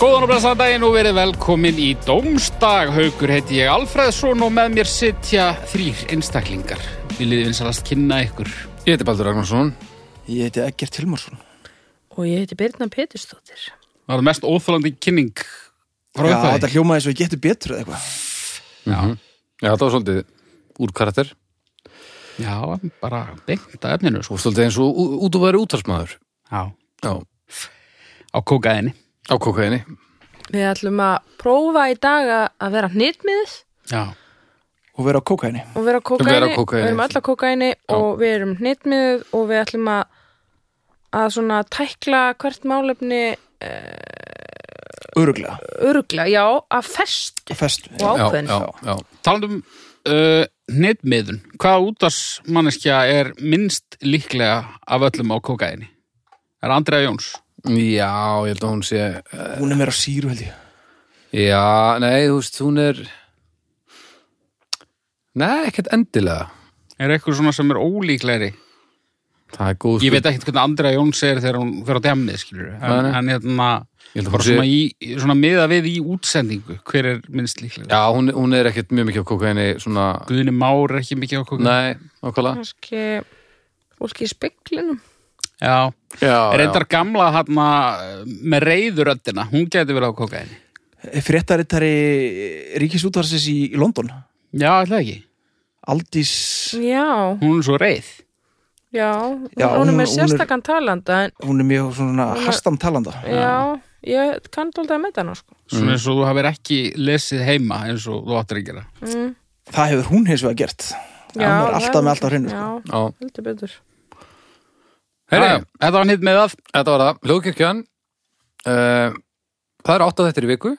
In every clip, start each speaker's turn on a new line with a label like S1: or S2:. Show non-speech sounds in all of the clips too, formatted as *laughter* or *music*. S1: Góðan og blessaðan daginn og verið velkomin í Dómstag. Haukur heiti ég Alfreðsson og með mér sitja þrýr einstaklingar. Viljið vinsalast kynna ykkur.
S2: Ég heiti Baldur Ragnarsson.
S3: Ég heiti Eggert Hilmarsson.
S4: Og ég heiti Birna Petursdóttir.
S1: Það var mest óþólandi kynning frá
S3: Já,
S1: upphafi.
S3: þetta hljómaði svo ég getur betur eða eitthvað.
S2: Mhm. Já, þetta var svolítið úr karakter
S1: Já, bara beint að efninu sko.
S2: og svolítið eins og ú- út og verið útarsmaður.
S1: Já,
S2: Já,
S1: á kókaðinni.
S2: á kokaini.
S4: Við ætlum að prófa í dag að- að vera hnitmiðið
S1: Já,
S3: Og vera á kókaini.
S4: og vera á
S2: vera á
S4: kókaini.
S2: kókaíni.
S4: Við erum alla kókaini og við erum hnitmiðið og við ætlum að, að svona tækla hvert málefni
S3: Öruglega.
S4: örgla, já, að festu
S3: Á festu.
S4: og ákveðin.
S2: Já, já, já.
S1: talandum uh, netmiðun. Hvaða útvarsmanneskja er minnst líklega af öllum á kókaðinni? Það er Andrea Jóns.
S2: Já, ég held að hún sé...
S3: Hún er meira á síru held ég.
S2: Já, nei, þú veist, hún er... Nei, ekkert endilega.
S1: Er eitthvað svona sem er ólíklegri?
S2: Það er góð...
S1: Ég veit ekkert hvernig Andrea Jóns er þegar hún fyrir á demnið, skilur. En,
S2: Nei, nei.
S1: en hérna...
S2: Ég held að
S1: bara
S2: hún sé...
S1: svona, í, svona miða við í útsendingu hver er minnst líklega
S2: Já, hún, hún er ekkert mjög mikið á kokaini, svona...
S1: Guðni Már er ekki mikið á kóka
S2: Nei, okkarlega.
S4: Kannski fólki í speklinum.
S1: já,
S2: Já,
S1: reyndar gamla hana, með reyðuröddina hún gæti verið á kóka
S3: Fréttarittari ríkisútvarsins í, í London.
S1: já, alltaf ekki,
S3: Aldís,
S4: Já,
S1: hún er svo reyð
S4: já,
S3: Já,
S4: hún, er
S3: hún- hún
S4: með
S3: er-
S4: sérstakann talanda en
S3: hún er mjög svona
S4: Hún er-
S3: hastan talanda.
S4: já, ég kann dólda að metta hana sko.
S2: Mm.
S1: svona eins og þú hafir ekki lesið heima eins og þú áttir að gera
S3: Það hefur hún hins vegar gert. Já, hún er alltaf með alltaf hreinu.
S4: Já,
S3: Sko.
S2: Já,
S4: heldur betur.
S2: Herri,
S1: Jæja, Ah, þetta var nýtt með að
S2: Þetta var það, hljóðkirkjan uh, Það er átta þettir í viku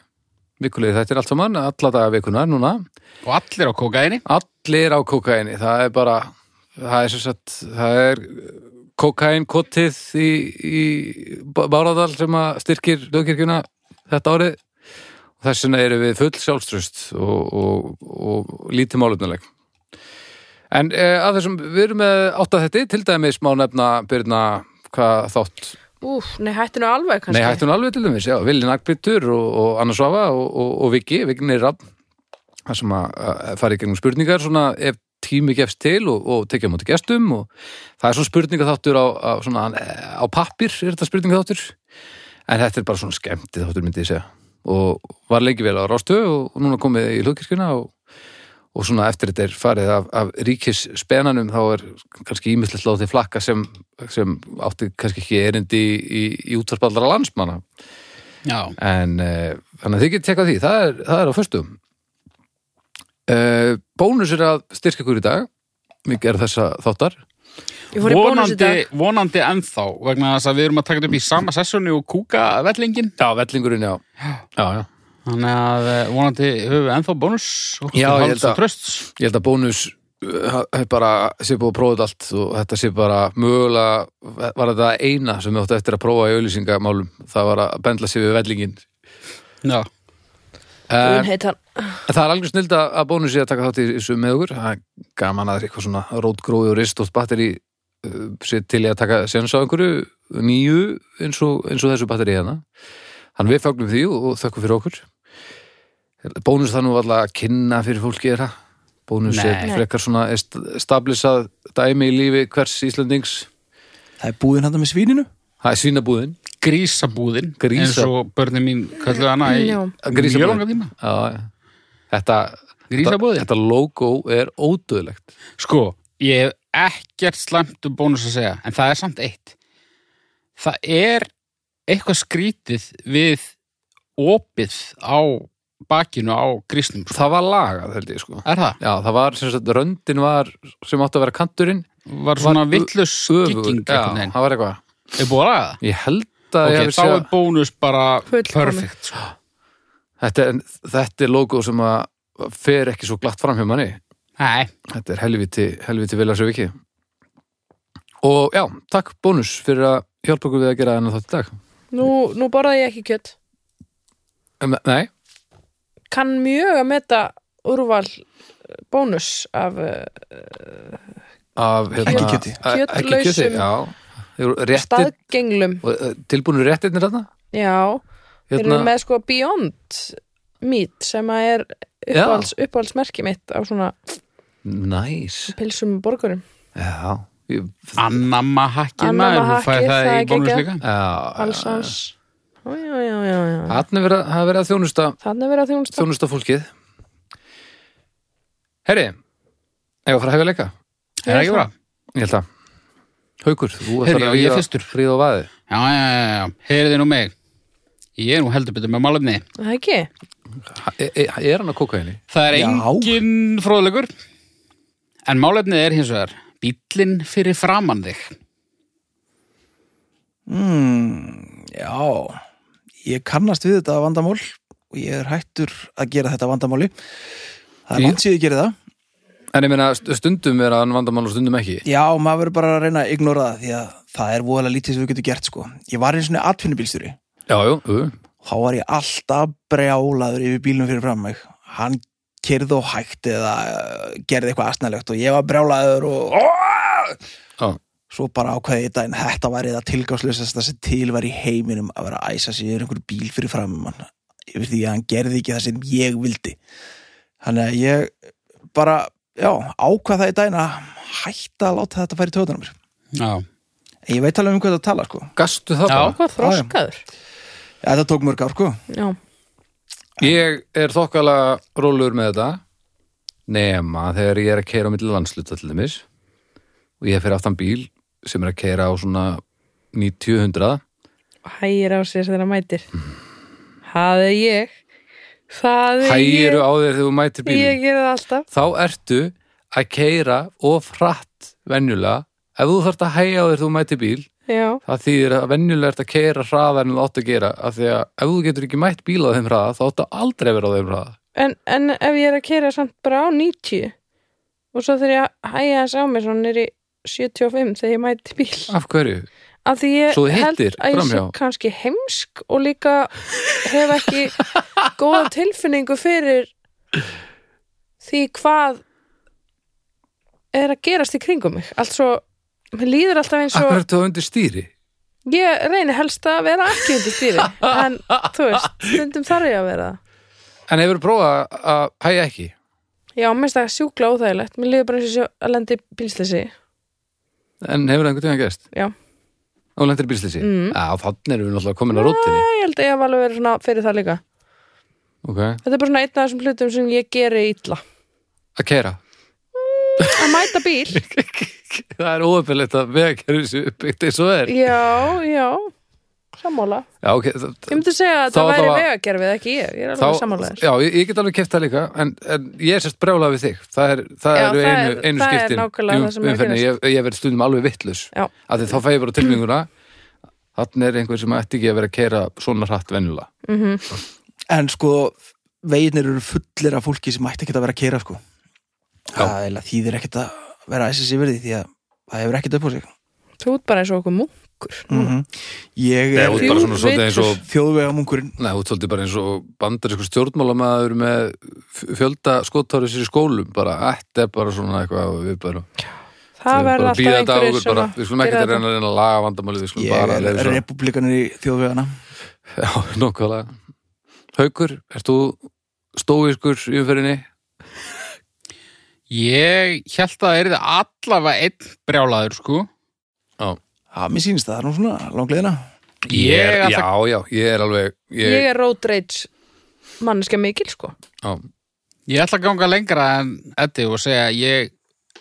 S2: Vikulegi þetta er allt saman, alla daga vikunar núna
S1: og allir á kókaðinni
S2: Allir á kokaini, það er bara Það er sem sagt Það er kokain kotið í, í Bá- Bárðardal sem að styrkir hljóðkirkjuna þetta árið og þess vegna erum við full sjálfströst og, og, og, lítið málefnuleg En uh, að þessum, við erum með átta þetti, til dæmis má nefna byrna hvað þátt
S4: Úf, nei, hætti nú alveg kannski.
S2: Nei, hættu hún alveg til dæmis, já, Vili Nagbrittur og, og Anna Svafa og, og, og Viki, Vikinni Rapp, það sem að, að fara í gegnum spurningar svona ef tími gefst til og, og tekja á móti gestum og það er svona spurningaþáttur á, á, svona, á pappir er þetta spurningaþáttur en þetta er bara svona skemmtið þáttur myndi ég segja og var lengi vel á Rástu og, og núna komið í hlugkirkjuna og, og svona eftir þetta er farið af, af ríkis spenanum þá er kannski ímislegt látið flakka sem, sem átti kannski ekki erindi í, í, í útvarpallara landsmanna
S1: já,
S2: en uh, þannig að þið getið tekað því það er, það er á föstum uh, Bónus er að styrka ykkur í dag mikið er þessa þáttar
S4: Ég fór í bónus í
S1: vonandi,
S4: dag.
S1: vonandi ennþá vegna þess að við erum að taka þetta upp í sama sessónu og kúka vellingin
S2: Já, vellingurinn, já Já, já
S1: þannig að eh, vonandi höfum við ennþá bónus og
S2: Já, ég held
S1: halds og
S2: að-
S1: trösts
S2: Ég held að bónus uh, hef bara sé búið að prófa þetta allt og þetta sé bara mögulega var þetta eina sem ég átti eftir að prófa í auðlýsingamálum það var að bendla sig við vellingin
S1: já,
S4: Hún
S2: uh,
S4: heitar
S2: Það er algjör snild að bónus sé að taka þátt í þessu með okkur það er gaman að eitthvað svona rótgrói og ristótt batteri uh, sé til í að taka séns á einhverju nýju eins og, eins og þessu batteri hérna Þannig við fagnum því og, og þökkum fyrir okkur Bónus það nú alltaf að kynna fyrir fólki er það Bónus er
S1: Nei.
S2: frekar svona est- stablisað dæmi í lífi hvers Íslandings
S3: Það er búðin hann með svíninu.
S2: Það er svínabúðin
S1: grísabúðin
S2: Grísa-
S1: eins og börnin mín kalluðu hana í
S4: Já.
S1: mjög langa tíma
S2: Já, já. Þetta,
S1: Grísabúðin.
S2: þetta logo er ódöðlegt
S1: sko, ég hef ekkert slæmt um bónus að segja, en það er samt eitt það er eitthvað skrítið við opið á bakinu á grísnum, sko.
S2: Það var lagað held ég sko
S1: er það?
S2: Já, það var sem sagt, röndin var sem átti að vera kanturinn
S1: var svona
S2: Var-
S1: villus
S2: öfugur.
S1: skiking
S2: Já,
S1: eitthvað neginn,
S2: það var eitthvað
S1: er búið að laga það?
S2: Ég held að ég
S1: ok,
S2: hafi
S1: þá
S2: séð-
S1: er bónus bara
S4: Fullkomið.
S1: perfect, sko.
S2: þetta, er- þetta er logo sem að fer ekki svo glatt fram hjá manni
S1: nei,
S2: Þetta er helviti, helviti vilja sér viki. Og já, takk bónus fyrir að hjálpa okkur við að gera þennan þátt í dag.
S4: Nú, nú borðaði ég ekki kjött.
S2: Um, nei,
S4: Kann mjög að metta úrval eh, bónus af eh,
S2: af hérna...
S3: Ekki kjöti.
S2: a- Ekki kjöti,
S4: Kjötlausum.
S2: já. Þeir eru réttir,
S4: staðgenglum.
S2: og, eh, tilbúnir réttirnir þarna?
S4: Já, Þeir
S1: Hérna-
S4: eru með sko Beyond Meat sem að er
S2: Já.
S4: uppáhalds, uppáhaldsmerki mitt á svona
S2: næs
S4: pilsum og borgurum.
S2: já, ég,
S1: Annama hakkið
S4: Anamma
S1: maður, þú fæði
S4: hakkið,
S1: það
S4: það
S1: í
S4: er
S1: bónus
S4: geggjað.
S1: líka Ah.
S2: já
S4: Alls hans. Já, já, já, já, já.
S2: Þarna er verið að- það er verið að þjónusta
S4: Þannig að vera þjónust.
S2: þjónusta fólkið Herri, ef að fara að hefja leika
S1: Er það ekki bra?
S2: ég held að Haukur, þú
S1: Heyrðu,
S2: ætlar
S1: já, ég
S2: að
S1: er
S2: ríða-
S1: fyrstur.
S2: ríða á vaði
S1: Já, já, já, já, heyriði nú mig Ég er nú heldur betur með málefni
S4: Það ekki?
S2: e, e, Er hann að kóka henni?
S1: Það er
S3: Já.
S1: engin fróðlegur En málefnið er hins vegar Bíllinn fyrir framann þig
S3: Mm, já, ég kannast við þetta vandamál og ég er hættur að gera þetta vandamáli. Það er
S2: Ég-
S3: langt síðan ég gerði það.
S2: En ég meina st- stundum er hann vandamál og stundum ekki
S3: Já, maður verður bara að reyna að ignora það því að það er voðalega lítið sem við getum gert sko. Ég var eins og atvinnubílstjóri.
S2: Já, jú, jú.
S3: Þá var ég alltaf brjálaður yfir bílnum fyrir fram mig. Hann kerði og hægt eða eh, gerði eitthvað asnalegt og ég var brjálaður og
S2: Já.
S3: svo bara ákveði þetta en þetta væri það tilgáðslega sem til var í heiminum að vera að æsa sér einhver bíl fyrir fram um hann yfir því að hann gerði ekki það sem ég vildi þannig að ég bara já, ákvað það í daginn að hætta að láta þetta færi töðunum mér
S1: Já,
S3: en ég veit alveg um hvað það tala sko
S2: Gastu það
S1: Já.
S2: bara?
S4: Hvað þroskaður?
S3: ja, þetta tók mörg ár sko
S4: Já.
S2: Ég er þokkala rólur með þetta nema þegar ég er að keira á milli landsluta til dæmis og ég fer aftan bíl sem er að keira á svona 90-100
S4: Hægir á sér sem þeirra mætir. Það er ég. Það er
S2: hægiru
S4: ég.
S2: á þér þegar þú mætir bílum
S4: Ég gerði það alltaf.
S2: þá ertu að keira of hratt venjulega ef þú þarft að hægja á þér þú mætir bíl
S4: Já.
S2: það þýðir að venjulega ert að keira hraðar en þú átt að gera af því að ef þú getur ekki mætt bíl á þeim hraða þá áttu aldrei að vera á þeim hraða
S4: En, en ef ég er að keira samt bara á 90 og svo þegar ég að hæja hans á mig svona nýri 75 þegar ég mæti bíl
S2: af hverju?
S4: af því ég
S2: Ah. Svo þú
S4: held
S2: hittir
S4: að ég sé
S2: framhjá.
S4: kannski heimsk og líka hef ekki góða tilfinningu fyrir því hvað er að gerast í kringum mig allt svo, mér líður alltaf eins
S2: af
S4: og
S2: hverju ertu á undir stýri?
S4: ég reyni helst að vera ekki undir
S2: *laughs*
S4: stýri en þú veist, stundum þarf ég að vera það
S2: en hefur prófað að hægja ekki
S4: Já, mér finnst það sjúkla óþægilegt. Mér liður bara eins og sjá að lendi bílsleysi.
S2: en hefur það einhvern tíðan gæst?
S4: Já.
S2: og lendir bílslýsi?
S4: Mm.
S2: já, þannig erum við náttúrulega komin á rótinni
S4: Ég held að ég hafa alveg verið svona fyrir það líka.
S2: okay.
S4: Þetta er bara svona einn af þessum hlutum sem ég geri illa.
S2: að keira
S4: Að mæta
S2: *laughs*
S4: bíl.
S2: það er óöfnilegt að vega kerfi sér uppbyggt eins og það er
S4: Já, já. Sammála.
S2: já, ok, það-
S4: Ég myndi segja að
S2: Þá
S4: það væri
S2: allavega-
S4: vegagerfið, ekki ég. Ég er alveg sammála þér.
S2: já, ég, ég get alveg keft það líka en, en ég er sérst brjálað við þig það, er, það
S4: Já,
S2: eru
S4: það
S2: einu,
S4: er-
S2: einu
S4: það er
S2: skiptin
S4: nákvæmlega
S2: í
S4: það sem er að
S2: umferðinni. ég, ég verð stundum alveg vittlus
S4: Já.
S2: af því þá fæ ég bara tilbygguna þannig er einhver sem ætti ekki að vera að keira svona hratt venjulega
S3: en sko, veginir eru fullir af fólki sem ætti ekki að vera að keira sko það er eiginlega þýðir ekkert að vera að æsa sér verði því að það hefur ekkert upp á sig
S4: Þú ert bara eins og okkur munkur.
S3: mm ég
S2: Mhm. Nei,
S3: er
S2: þú ert
S4: Jú,
S2: bara svona svolítið eins og
S4: vitlaus.
S3: þjóðvegamungurinn
S2: Nei, þú ert svolítið bara eins og bandar eitthvað stjórnmálamæður með f- fjölda skottári sér í skólum bara, þetta er bara svona eitthvað og við bara,
S4: Það
S2: við
S4: verður
S2: bara
S4: alltaf
S2: þetta á
S4: einhverjir
S2: okkur bara,
S4: sem
S2: við skulum ekki
S4: gera
S2: að reyna að reyna að laga vandamálið, við skulum
S3: ég
S2: bara
S3: er
S2: leyfa þessu-
S3: republikanir í þjóðvegana
S2: Já, nokkvæðlega. Haukur, ert þú stóiskur í umferðinni?
S1: Ég held að það er allavega einn brjálaður, sko
S3: Já, mér sýnist það, það er nú svona langleðina.
S1: Ég
S2: er,
S1: ætla-
S2: já, já, ég er alveg, ég,
S4: Ég er road rage manneskja mikil, sko.
S2: já,
S1: Ég ætla að ganga lengra en Eddi og segja að ég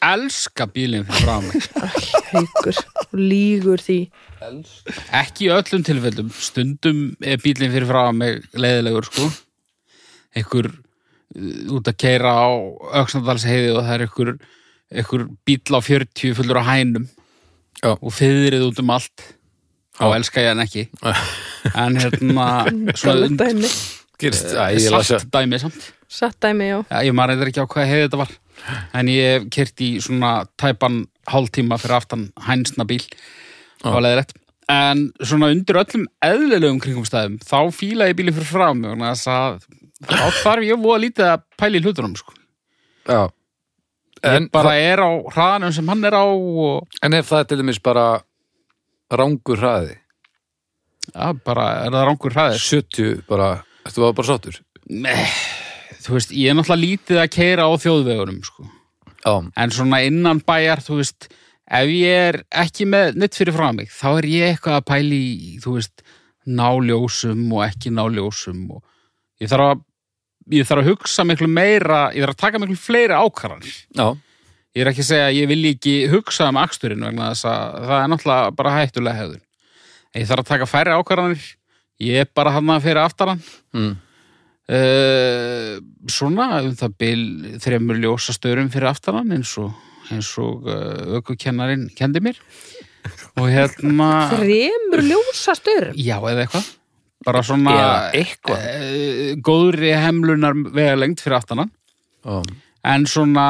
S1: elska bílinn fyrir frá mig.
S4: Haukur. Þú Lýgur því.
S1: Ekki í öllum tilfellum, stundum er bílinn fyrir frá mig leiðilegur sko. Ekkur út að keira á Öxnadalsheiði og það er ekkur, ekkur bíl á 40 fullur á hænum
S2: Já.
S1: og fyrirðið út um allt. Þá
S2: Já.
S1: elska ég hann
S2: *laughs*
S1: ekki. En hérna, svona
S4: Galegt dæmi.
S2: gerist, æ, ég las að,
S1: satt dæmi samt.
S4: Satt dæmi, já.
S1: Já, ég maður reyndar ekki á hvað hefði þetta var en ég hef kyrt í svona tæpan hálftíma fyrir aftan hænsna bíl og var leðilegt en svona undir öllum eðlilegum kringumstæðum þá fíla ég bílinn fyrir frá mig vegna þess að þá þarf ég voða lítið að pæla í hlutunum sko.
S2: já. En,
S1: ég bara er á hraðanum sem hann er á og
S2: en ef það er til dæmis bara rángur hraði,
S1: Já, bara, er það rangur
S2: Eh.
S1: hraðir?
S2: 70 bara, þetta var bara sáttur
S1: Nei, þú veist, ég er náttúrulega lítið að keira á þjóðvegunum, sko.
S2: Já,
S1: En svona innan bæjar, þú veist, ef ég er ekki með nýtt fyrir frá mig, þá er ég eitthvað að pæli í, þú veist, náljósum og ekki náljósum og ég þarf að, ég þarf að hugsa miklu meira, ég þarf að taka miklu fleiri ákvarðanir.
S2: já,
S1: Ég er ekki að segja að ég vil ekki hugsa um aksturinn vegna þess að það er náttúrulega bara hættulega hefður. Ég þarf að taka færri ákvarðanir, ég er bara hann að fyrir aftaran.
S2: mm.
S1: Uh, svona, um það byl þremur ljósastörum fyrir aftaran eins og, eins og uh, ökukennarin kendi mér. Og hérna...
S4: *laughs*
S2: Ah.
S4: Þremur ljósastur
S1: Já, eða eitthvað. Bara svona...
S2: Eða eitthvað.
S1: Uh, góðri hemlunar vega lengt fyrir aftanan
S2: já.
S1: en svona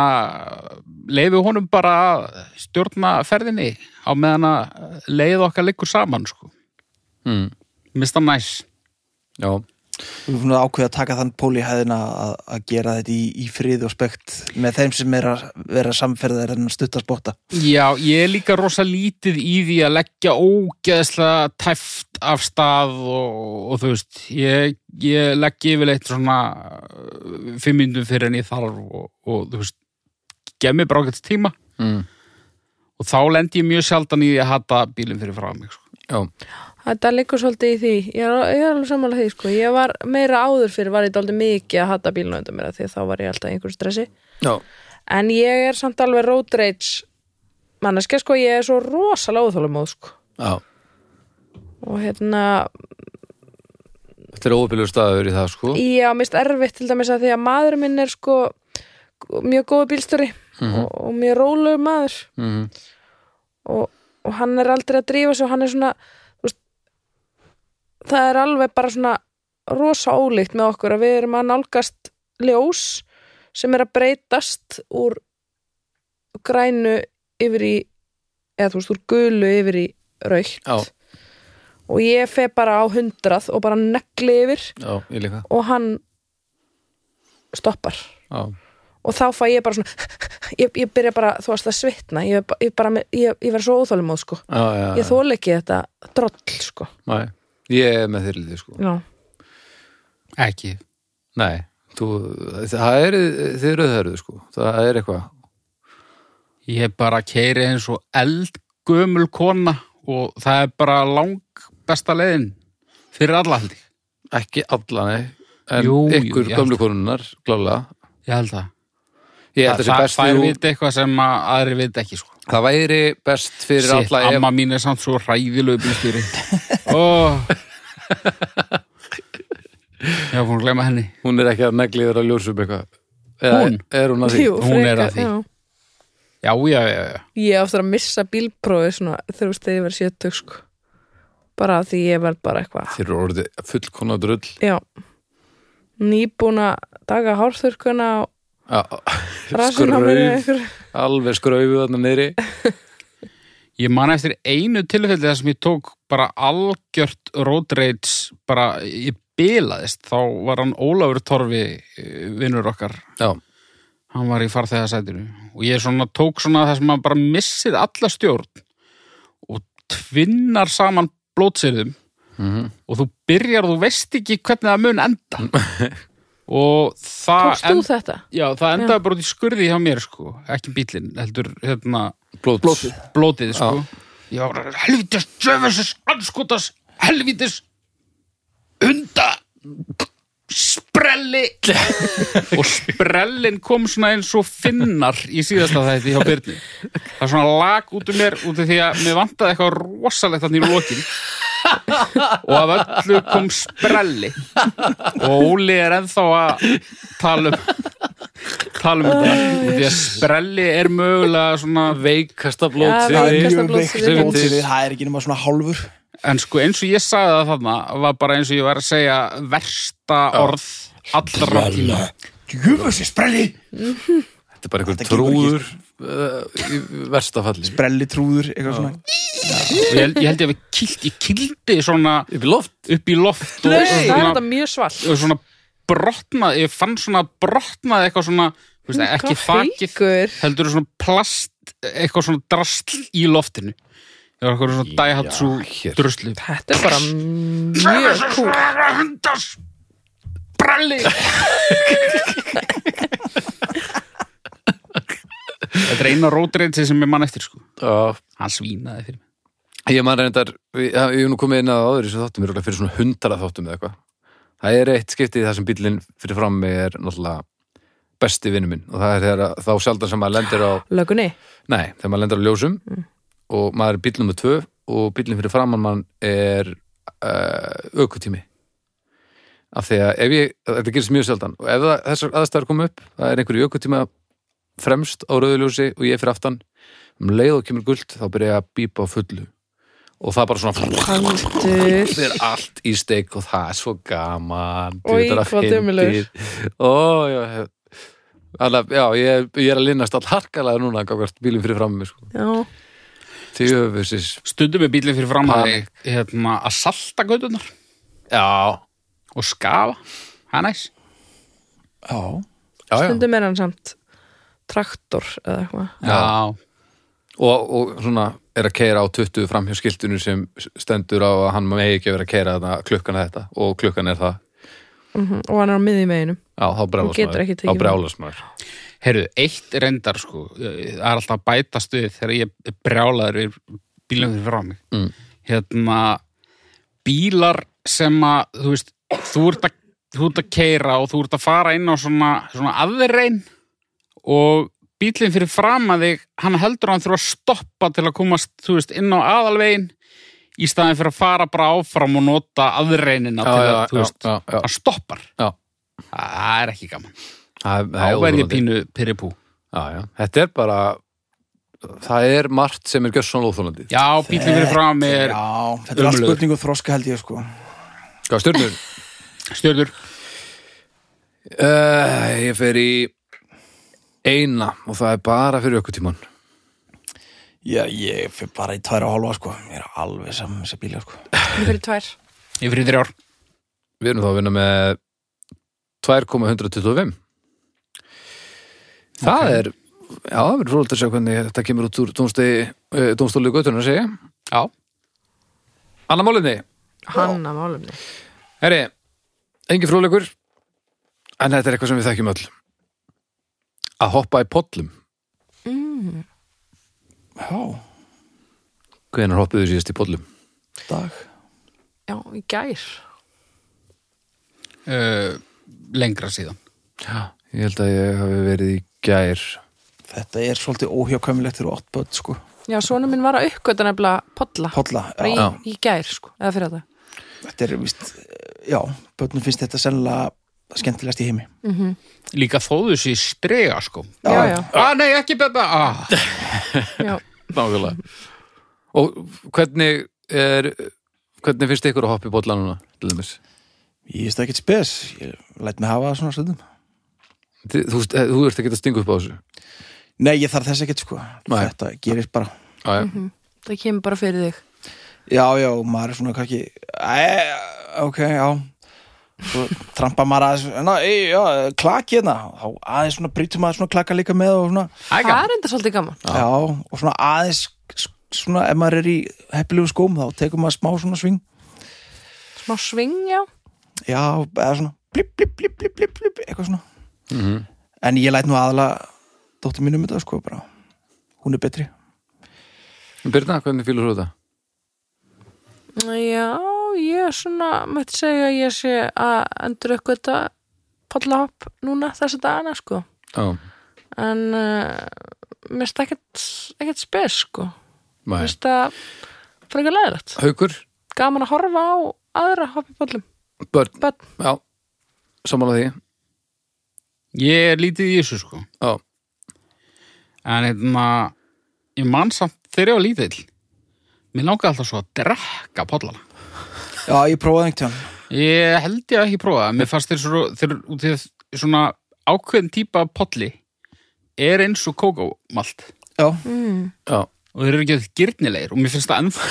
S1: leifu honum bara að stjórna ferðinni á meðan að leið okkar liggur saman sko.
S2: Mm.
S1: mista næs
S2: já.
S3: Við erum svona ákveðið að taka þann pól í hæðina að, að gera þetta í, í frið og spekt með þeim sem er að vera samferðar en stuttarsbóta.
S1: Já, ég er líka rosa lítið í því að leggja ógeðslega tæft af stað og, og þú veist, ég, ég legg yfirleitt svona uh, fimm myndum fyrir en ég þarf og, og þú veist, gef mér bara ágætt tíma
S2: Mm.
S1: og þá lendi ég mjög sjaldan í því að hata bílinn fyrir frá mig sko.
S2: já.
S4: Þetta liggur svolítið í því Ég er, ég er alveg sammála því sko Ég var meira áður fyrir var ég dálítið mikið að hata bílnum undan mér af því að þá var ég alltaf í einhverju stressi
S2: já.
S4: En ég er samt alveg road rage manneskja sko, ég er svo rosalega óþólumóð sko
S2: já.
S4: og hérna,
S2: Þetta er óupilur staður í það sko
S4: ég á mist erfitt til dæmis að því að maður minn er sko mjög góðu bílstöri og, og mjög rólegur maður
S2: mm.
S4: og, og hann er aldrei að drífa sig og hann er svona þú veist, það er alveg bara svona rosa ólíkt með okkur að við erum að nálgast ljós sem er að breytast úr grænu yfir í eða þú veist, úr gulu yfir í raukt
S2: Já.
S4: og ég fer bara á hundrað og bara negli yfir
S2: Já, ég líka
S4: og hann stoppar
S2: Já,
S4: og þá fæ ég bara svona *laughs* ég, ég byrja bara, þú veist að svitna ég, er ba- ég, bara, með- ég, ég verð svo óþólumóð sko
S2: já, já
S4: ég þóla ekki þetta droll sko
S2: Næ, Ég er með þyrlið sko
S4: já,
S1: ekki,
S2: Nei, þú, það er þið eru þörðu sko, það er eitthvað
S1: Ég bara keiri eins og eldgömul kona og það er bara lang besta leiðin fyrir alla haldi.
S2: ekki alla, nei, en
S1: Jú, jú,
S2: ykkur
S1: ég
S2: gömlu
S1: held-
S2: konunnar, klálega
S1: Ég held það.
S2: Ég
S1: Það,
S2: held að það
S1: það
S2: sé
S1: besti,
S2: best
S1: þær
S2: fyrir
S1: viti eitthvað sem að aðri viti ekki sko.
S2: það væri best fyrir
S1: Sitt,
S2: alla ef,
S1: amma mín er samt svo hræðilegu
S2: *laughs*
S1: bílstýri. Ó. Ég var búin að glemma henni.
S2: hún er ekki að negli yfir að ljósum eitthvað Eða
S1: Hún?
S2: Er hún að því?
S4: Jú,
S1: hún er að því.
S4: já.
S1: Já, já, já, já.
S4: ég er aftur að missa bílprófi svona, þegar þú veist, þegar ég verð sjötug sko bara af því ég verð bara eitthvað
S2: Þeir eru orðið fullkona drull
S4: já, nýbúna daga hárþurkuna og
S2: Já,
S4: rassin á mér eða
S2: skrauf,
S4: einhver
S2: alveg skraufu þarna niðri
S1: Ég man eftir einu tilfelli þar sem ég tók bara algjört road rage, bara ég bilaðist, þá var hann Ólafur Torfi, eh, vinur okkar,
S2: Já,
S1: hann var í farþegasætinu og ég svona tók svona það sem maður bara missir alla stjórn og tvinnar saman blótsýrðum
S2: Mhm.
S1: og þú byrjar og þú veist ekki hvernig það mun enda og það,
S2: Ah,
S4: tókst þú þetta?
S1: já, það endaði bara út í skurði hjá mér sko, ekki bílinn heldur hérna,
S2: blóts,
S3: Blótið.
S1: blótið sko. já, helvitis djöfessis, anskotas helvitis hunda sprelli *laughs* og sprellin kom svona eins og finnar í síðasta þætti hjá Byrni það er svona lag út um mér út af því að mér vantaði eitthvað rosalegt þannig í lokin og af öllu kom sprelli og Óli er ennþá að tala um tala um þetta út af því að sprelli er mögulega svona
S2: veikasta
S3: Það
S4: Já,
S2: blótsið
S4: veikasta-
S3: er
S4: Kasta
S3: mjög
S4: blótsyrði.
S3: veikt blótsyrði, það er ekki nema svona hálfur.
S1: En sko eins og ég sagði það þarna var bara eins og ég var að segja versta orð allra tíma.
S3: Djöfus, sprelli!
S2: Þetta er bara einhver
S3: Þetta gengur
S2: trúður uh, í versta falli
S3: Sprelli trúður, eitthvað svona.
S1: Ég, held- ég held ég að við kilt, ég kildi svona
S2: Upp í loft
S1: upp í loft og,
S4: það er þetta
S1: svona,
S4: mjög svall
S1: og svona brotnaði, ég fann svona brotnaði eitthvað svona, þú veist, ekki
S4: Hvað
S1: þakið,
S4: feikur?
S1: heldur svona plast, eitthvað svona drasl í loftinu. Það var eitthvað svona dæhatsu
S2: hér.
S1: druslu.
S4: Þetta er bara mjög kúl
S1: Hundars bralli Þetta er eina rótreinsi sem ég mann eftir sko
S2: Já,
S1: Hann svínaði fyrir mig
S2: Ég man reyndar, ég ég hef nú komið inn að áður í þessu þáttum, ég er fyrir svona hundara þáttum eða eitthvað. Það er eitt skiptið þar sem bíllinn fyrir fram mig er náttúrulega besti vinnu minn og það er þegar að, þá sjaldan sem maður lendir á,
S4: Lögunni
S2: nei, þegar maður lendir á ljósum
S4: Mm.
S2: og maður er bíll nummer tvö og bíllinn fyrir framann mann er uh, aukutími. Af því að ef ég, þetta gerist mjög sjaldan og ef það, þessar aðstæður kom upp, það er einhverju aukutíma fremst á rauðuljósi og ég fyrir aftan, um leið og kemur gult þá byrja ég að bípa á fullu og það bara svona *laughs*
S4: Handur
S2: Það er allt í steik og það er svo gaman
S4: Oj,
S2: djöfull er það
S4: hvað
S2: fyndið.
S4: dömulegur.
S2: Ó, já, já. Alla, já ég, ég er að linnast all harkalega núna gangast bílum fyrir fram mig sko.
S4: Já,
S2: Því öfusis
S1: Stundum við bílinn fyrir fram að
S2: Panik.
S1: hérna, að salta gautunar
S2: Já,
S1: og skafa Það er næs
S3: Já,
S2: já, já.
S4: stundum er hann samt traktor eða eitthvað
S1: Já,
S2: Og, og svona er að keira á 20 framhjá skiltinu sem stendur á að hann megi ekki vera að keira þarna klukkan er þetta og klukkan er það
S4: Mhm, og hann er á miðjum veginum
S2: Já, þá brjálast
S4: getur ekki
S2: maður
S4: tekið
S2: Þá brjálast maður
S1: heyrðu, eitt reyndar sko Það er alltaf að bæta stuð þegar ég er brjálaður við bílinn fyrir fram mig
S2: Mm.
S1: Hérna, bílar sem að, þú veist, þú ert að þú ert að keira og þú ert að fara inn á svona, svona aðrein og bílinn fyrir fram að þig hann heldur að hann þurfa að stoppa til að komast, þú veist, inn á aðalvegin í staðin fyrir að fara bara áfram og nota aðreinina til að, þú veist,
S2: já, já.
S1: hann stoppar
S2: Já.
S1: það er ekki gaman
S2: Það er- það er
S1: þá verð ég
S2: óþolandi.
S1: pínu pyrripú
S2: Já, já, þetta er bara það er margt sem er gjössan óþólandi
S1: já, bílinn fyrir fram er
S3: já, þetta er allt
S1: ömurlegur.
S3: spurningu þroska held ég sko
S2: Hvað stjörnur?
S1: stjörður
S2: Uh, ég fer í eina og það er bara fyrir okkur tíman
S3: Já, ég fyrir bara í tværa og hálfa sko Ég er alveg saman með þessa bíla sko
S4: Ég fyrir tvær
S1: yfir í þrjár
S2: Við erum þá að vinna með 2,125 Það er Já, við erum rúlega að sjá hvernig þetta kemur út úr dómstegi, eh, dómstóli göttunar segja
S1: já,
S2: Anna málumni,
S4: Hanna málumni
S2: herri engin fróðleikur en þetta er eitthvað sem við þekkjum öll að hoppa í pollum
S3: Já,
S2: Hvenær hoppuðu síðast í pollum?
S3: dag
S4: Já, í gær
S1: uh, lengra síðan
S2: Já, ég held að ég hafi verið í gær
S3: Þetta er svolítið óhjákvæmilegt fyrir ótt börn sko
S4: Já, svona minn var að uppgöta nefnilega podla
S3: Polla,
S4: bara í,
S3: já,
S4: í gær sko, eða fyrir þetta
S3: þetta er víst Já, börnum finnst þetta sennilega skemmtilegast í heimi
S1: líka þóðu sér strega sko
S4: Já, já,
S1: ah, nei, ekki beba ah.
S4: já
S2: Nákvæmlega Og hvernig er hvernig finnst ykkur að hoppa í bolla núna? til dæmis?
S3: Ég veist ekkert spes, ég læt mig hafa það svona stundum
S2: Þi- Þú, veist, eh, þú ert ekki að stinga upp á þessu
S3: Nei, ég þarf þess ekkert sko
S2: Nei.
S3: Þetta gerist bara
S2: ah, mm
S4: Það kemur bara fyrir þig
S3: Já, já, maður er svona kannski Æ, ok, já Svo trampa maður aðeins ná, ei, já, klaki hérna Þá aðeins svona brýtum maður svona klaka líka með og svona
S1: Æ,
S4: Það
S1: gaman.
S4: er enda svolítið gaman
S3: Já, og svona aðeins svona ef maður er í heppilegu skóm þá tekur maður smá svona sving
S4: Smá sving, já
S3: já, eða svona blip, blip, blip, blip, blip, blip, eitthvað svona en ég læt nú aðalega dóttir mínu um þetta sko bara hún er betri
S2: Birna, hvernig fýlur þú þetta?
S4: Já, ég er svona mætti segja að ég sé að endur uppgöta podlahopp núna þessa dagana sko
S2: Já,
S4: en uh, mér finnst ekkert, ekkert spes sko mér
S2: mæ
S4: finnst það frekar leðilegt
S2: Haukur,
S4: gaman að horfa á aðra hoppibóllum
S2: börn,
S4: bönn,
S2: já Samanlega því,
S1: ég er lítið í þessu sko
S2: já
S1: en hérna ég man samt þegar ég var lítill mér langaði alltaf svo að drekka pollala
S3: já, ég prófaði einhvern tíðan
S1: ég held ég að ekki prófa það. mér fannst þeir svo þeir, út í þess- svona ákveðin típa af polli er eins og kókómalt
S3: já,
S2: Já,
S1: og þeir eru ekki að gyrnilegir og mér finnst það ennþá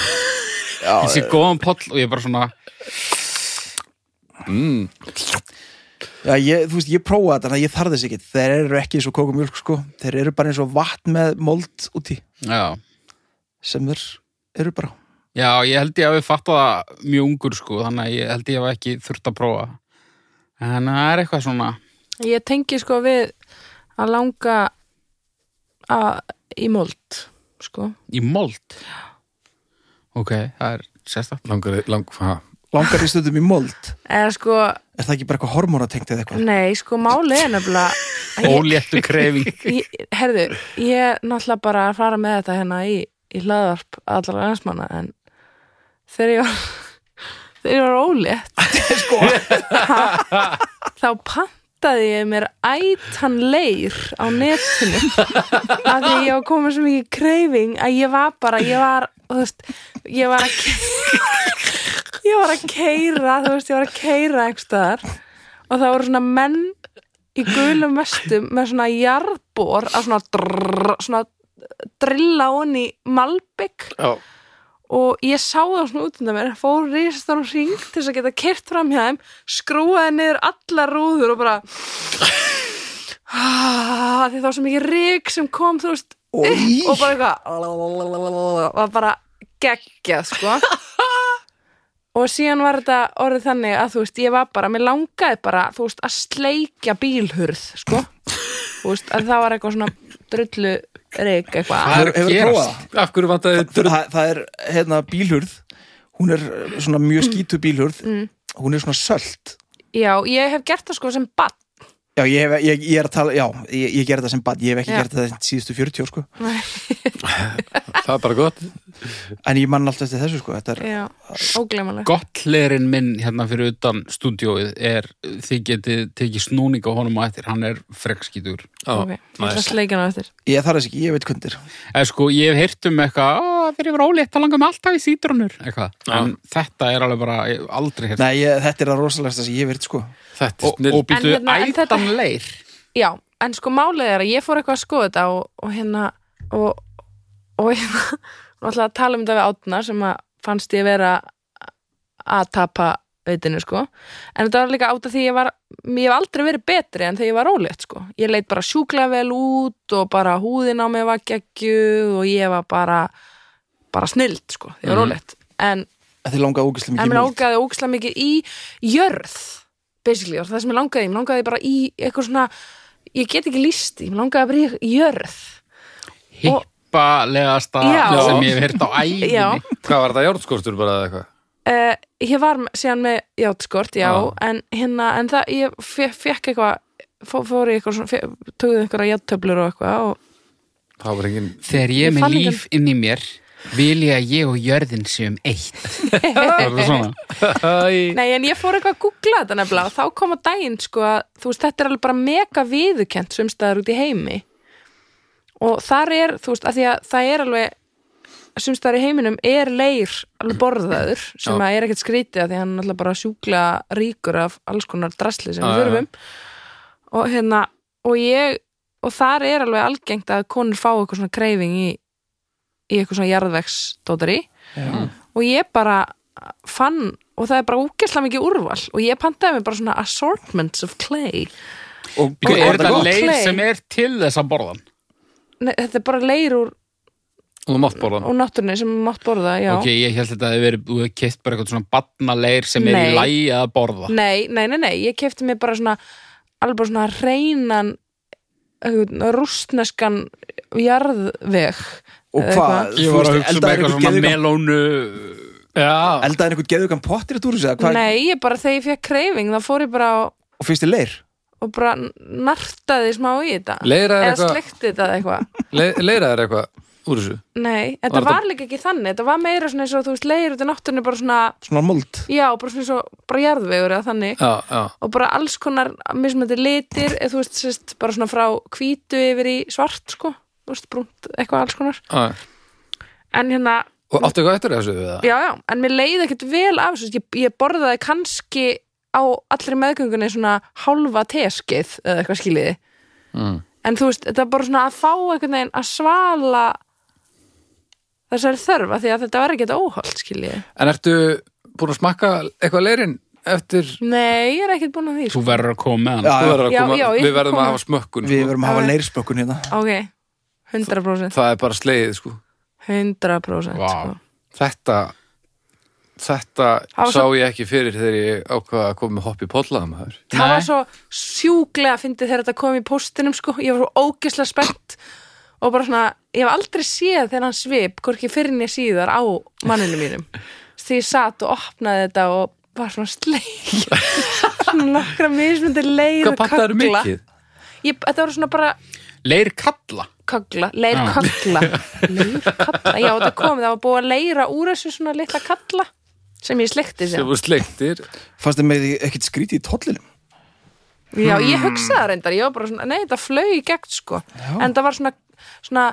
S1: ég sé góðan poll og ég er bara svona
S2: mm,
S3: já ég, þú veist, ég prófaði þetta þannig að ég þarði þess ekki þeir eru ekki eins og kókumjólk sko þeir eru bara eins og vatn með mold úti
S1: já,
S3: sem er eru bara
S1: Já, ég held ég að við fatta það mjög ungur sko, þannig að ég held ég að ekki þurft að prófa. En það er eitthvað svona,
S4: Ég tengi sko við að langa að, í mold sko.
S1: í mold. Ok, það er sérstætt.
S2: Langar, lang, ha,
S3: langar í stundum í mold
S4: eða sko,
S3: er það ekki bara eitthvað hormónatengt eða
S4: *laughs*
S3: eitthvað
S4: nei, sko máli er nefnilega Ég-
S1: Óléttu krefing.
S4: ég, herðu, ég náttúrulega bara að fara með þetta hérna í, í hlaðvarp allra landsmanna en þegar ég var *laughs* þegar ég var ólétt sko. þá pantaði ég mér ætan leir á netinu af því ég var komið svo mikið kreifing að ég var bara, ég var þú veist, ég var að ke- ég var að keira þú veist, ég var að keira einhverstaðar og það voru svona menn í gulum vestum með svona jarðbor að svona, drrr, svona drilla honni malbygg
S2: já,
S4: og ég sá það svona út undan mér fór risastórum hring til þess að geta kert fram hjá þeim skrúaði niður allar rúður og bara ah, því það var svo mikið rík sem kom þú veist
S3: Oj.
S4: og bara eitthvað var bara geggjað sko og síðan var þetta orðið þannig að þú veist ég var bara, mér langaði bara þú veist að sleikja bílhurð sko þú veist að það var eitthvað svona drullu reik eitthvað
S1: Hvað er að
S3: *laughs* Hefur-
S1: gerast?
S3: hefurðu prófað það?
S2: af hverju vantaði
S3: það, það er hérna bílhurð hún er eh, svona mjög skítu bílhurð hún er svona sölt
S4: já, ég hef gert það sko sem bann
S3: já, ég, hef, ég, ég er að tala, já, ég, ég gerði það sem bad ég hef ekki
S4: Já.
S3: gert það síðustu 40 ár, sko
S2: *laughs* það er bara gott
S3: en ég mann alltaf eftir þessu sko þetta er,
S4: já, óglemanlega
S1: Gottlerinn minn hérna fyrir utan stúdíóið er, þið getið tekið snúning á honum á eftir, hann er frekskítur.
S3: Ah.
S4: ok,
S2: já,
S4: ég ætla að
S2: næs.
S4: sleikja hana eftir
S3: ég þarf þess ekki, ég veit kundir
S1: Eða sko, ég hef heyrt um eitthvað, "Á, þegar ég var ólétt, þá langar mig alltaf í sítrónur, eitthvað.
S3: Ah.
S2: Já.
S1: En þetta er alveg bara, ég hef aldrei heyrt.
S3: Nei, ég, þetta er að rosalegsta sem ég hef veit sko
S2: þetta er
S1: Og, og
S2: snill
S1: býtu
S4: En hérna, en þetta-
S1: ætan leir.
S4: já, en sko málið er að ég fór eitthvað að skoða þetta og, og hérna og, og hérna og ætlaði að tala um þetta við átna sem að fannst ég vera að tapa veitinu sko en þetta var líka átt af því ég var ég hef aldrei verið betri en þegar ég var rólegt sko ég leit bara sjúklega vel út og bara húðin á mig var geggju og ég var bara bara snild sko, ég var
S2: Mhm.
S4: rólegt en
S3: að þið langaði ógæslega
S4: en
S3: mikið í
S4: mér
S3: mold.
S4: langaði ógislega mikið í jörð basically, og það sem mér langaði, mér langaði bara í eitthvað svona, ég get ekki líst í, mér langaði bara í jörð Og-
S1: Hippalegasta
S4: Já.
S1: sem ég hef heyrt á æginni.
S4: já,
S2: hvað var þetta járnskortur bara eða eitthvað
S4: uh, ég var með- síðan með játskort, já,
S2: Já.
S4: en hérna, en það, ég fe- fekk eitthvað fó- fór í eitthvað svona, fe- tóðu einhverja játtöflur og eitthvað og
S2: það var engin
S1: Þegar ég er
S4: Ég
S1: með
S4: fann
S1: líf inn í mér, vil ég að ég og jörðin séum eitt. Það er það svona.
S2: Æ,
S4: Nei, en ég fór eitthvað að googla þetta nefnilega og þá kom á daginn, sko, að þú veist, þetta er alveg bara mega viðukent sumstæðar út í heimi og þar er, þú veist, að því að það er alveg sumstæðar í heiminum er leir alveg borðaður sem
S2: Já.
S4: að er ekkert skrítið að því að hann er alltaf bara sjúkla ríkur af alls konar drasli sem
S2: Já,
S4: við
S2: já, já.
S4: þurfum og hérna, og ég og þar er alveg algengt að konur fá eitthvað svona kreifing í, í eitthvað svona jarðvegsdótari og ég bara fann og það er bara úkesslega mikið úrval og ég pantaði mér bara svona assortments of clay
S3: og,
S1: Býtu,
S3: og,
S1: er
S4: þetta
S1: þetta
S4: gott?
S1: leir
S4: Clay.
S1: sem er til þess að borðan?
S4: Nei, þetta er bara leir úr,
S2: og þú mátt borðan
S4: úr náttúrunni sem mátt borða já.
S1: Ok, ég held að þetta hefur verið, þú hefur keitt bara eitthvað svona barnaleir sem er
S4: Nei.
S1: í lægi að borða.
S4: nei, nei, nei, nei, ég kefti mér bara svona alveg bara svona reynan einhvern rústneskan jarðveg
S3: og
S4: eitthvað.
S3: hvað,
S1: Ég
S3: þú
S1: var
S3: veist,
S1: að hugsa um eitthvað
S3: eldaðir einhvern
S1: svona
S3: geðugan
S1: melónu... Já.
S3: eldaðir einhvern geðugan pottir í túrins eða hvað,
S4: nei, ég bara þegar ég fekk kreifing þá fór ég bara og,
S3: og fyrst í leir
S4: og bara nartaði smá í þetta
S2: Leira er
S4: eða
S2: eitthvað-
S4: slekti þetta eða eitthvað
S2: Le- leira er eitthvað úr þessu
S4: nei, þetta
S2: Var
S4: var,
S2: þetta-
S4: líka ekki þannig þetta var meira svona eins og þú veist leir út í náttúrunni bara svona
S3: svona mold
S1: Sko,
S4: Já, bara svona svo, bara jarðvegur eða þannig
S2: já, já,
S4: og bara alls konar mismöndi litir eða þú veist, sérst, bara svona frá hvítu yfir í svart, sko þú veist, brúnt, eitthvað alls konar
S2: já.
S4: en hérna,
S2: og áttu eitthvað eftir þessu við það
S4: já, já, en mér leiði ekkert vel af þessu, ég, ég borðaði kannski á allri meðgöngunni svona hálfa teskið eða eitthvað skiljiði
S2: Mm.
S4: en þú veist, þetta er bara svona að fá einhvern veginn að svala þessari þörf af því að þetta var ekkert óholt skiljiði.
S2: en ertu búin að smakka eitthvað leirin eftir
S4: Nei, ég er ekkert búin að því,
S1: Þú
S4: sko
S1: verður að koma með hann.
S3: Já,
S2: Þú verður að
S4: Já,
S2: koma,
S4: já, ég
S2: við verðum
S4: koma.
S2: að hafa smökkun
S3: við
S2: sko.
S3: verum að hafa
S4: Já.
S3: leirspökkun hérna
S4: Ok, 100%
S2: það er bara slegið sko.
S4: 100%
S1: Vá.
S4: sko.
S2: þetta þetta
S4: Hafa
S2: sá
S4: svo-
S2: ég ekki fyrir þegar ég ákvaða að koma með hopp í pollaða maður
S4: það var
S1: Nei.
S4: svo sjúklega fyndið þegar þetta kom í póstinum sko, ég var svo ógislega spennt og bara svona, ég hef aldrei séð þennan svip, hvorki fyrir nýja síðar á manninu mínum því ég satt og opnaði þetta og bara svona sleik svona nokkra mismundi leir
S2: Hvað pantaður mikið?
S4: Ég, þetta var svona bara
S1: Leir kalla.
S4: kagla, leir
S1: Já.
S4: kagla leir kagla, já þetta kom það var búið að leira úr þessu svona litla kalla sem ég sleikti
S2: sem
S4: sér
S2: voru sleiktir
S3: Fannst þið með ekkert skrítið í tóllinum?
S4: já ég hugsaði það reyndar, ég var bara svona nei þetta flög í gegn sko en það var svona, svona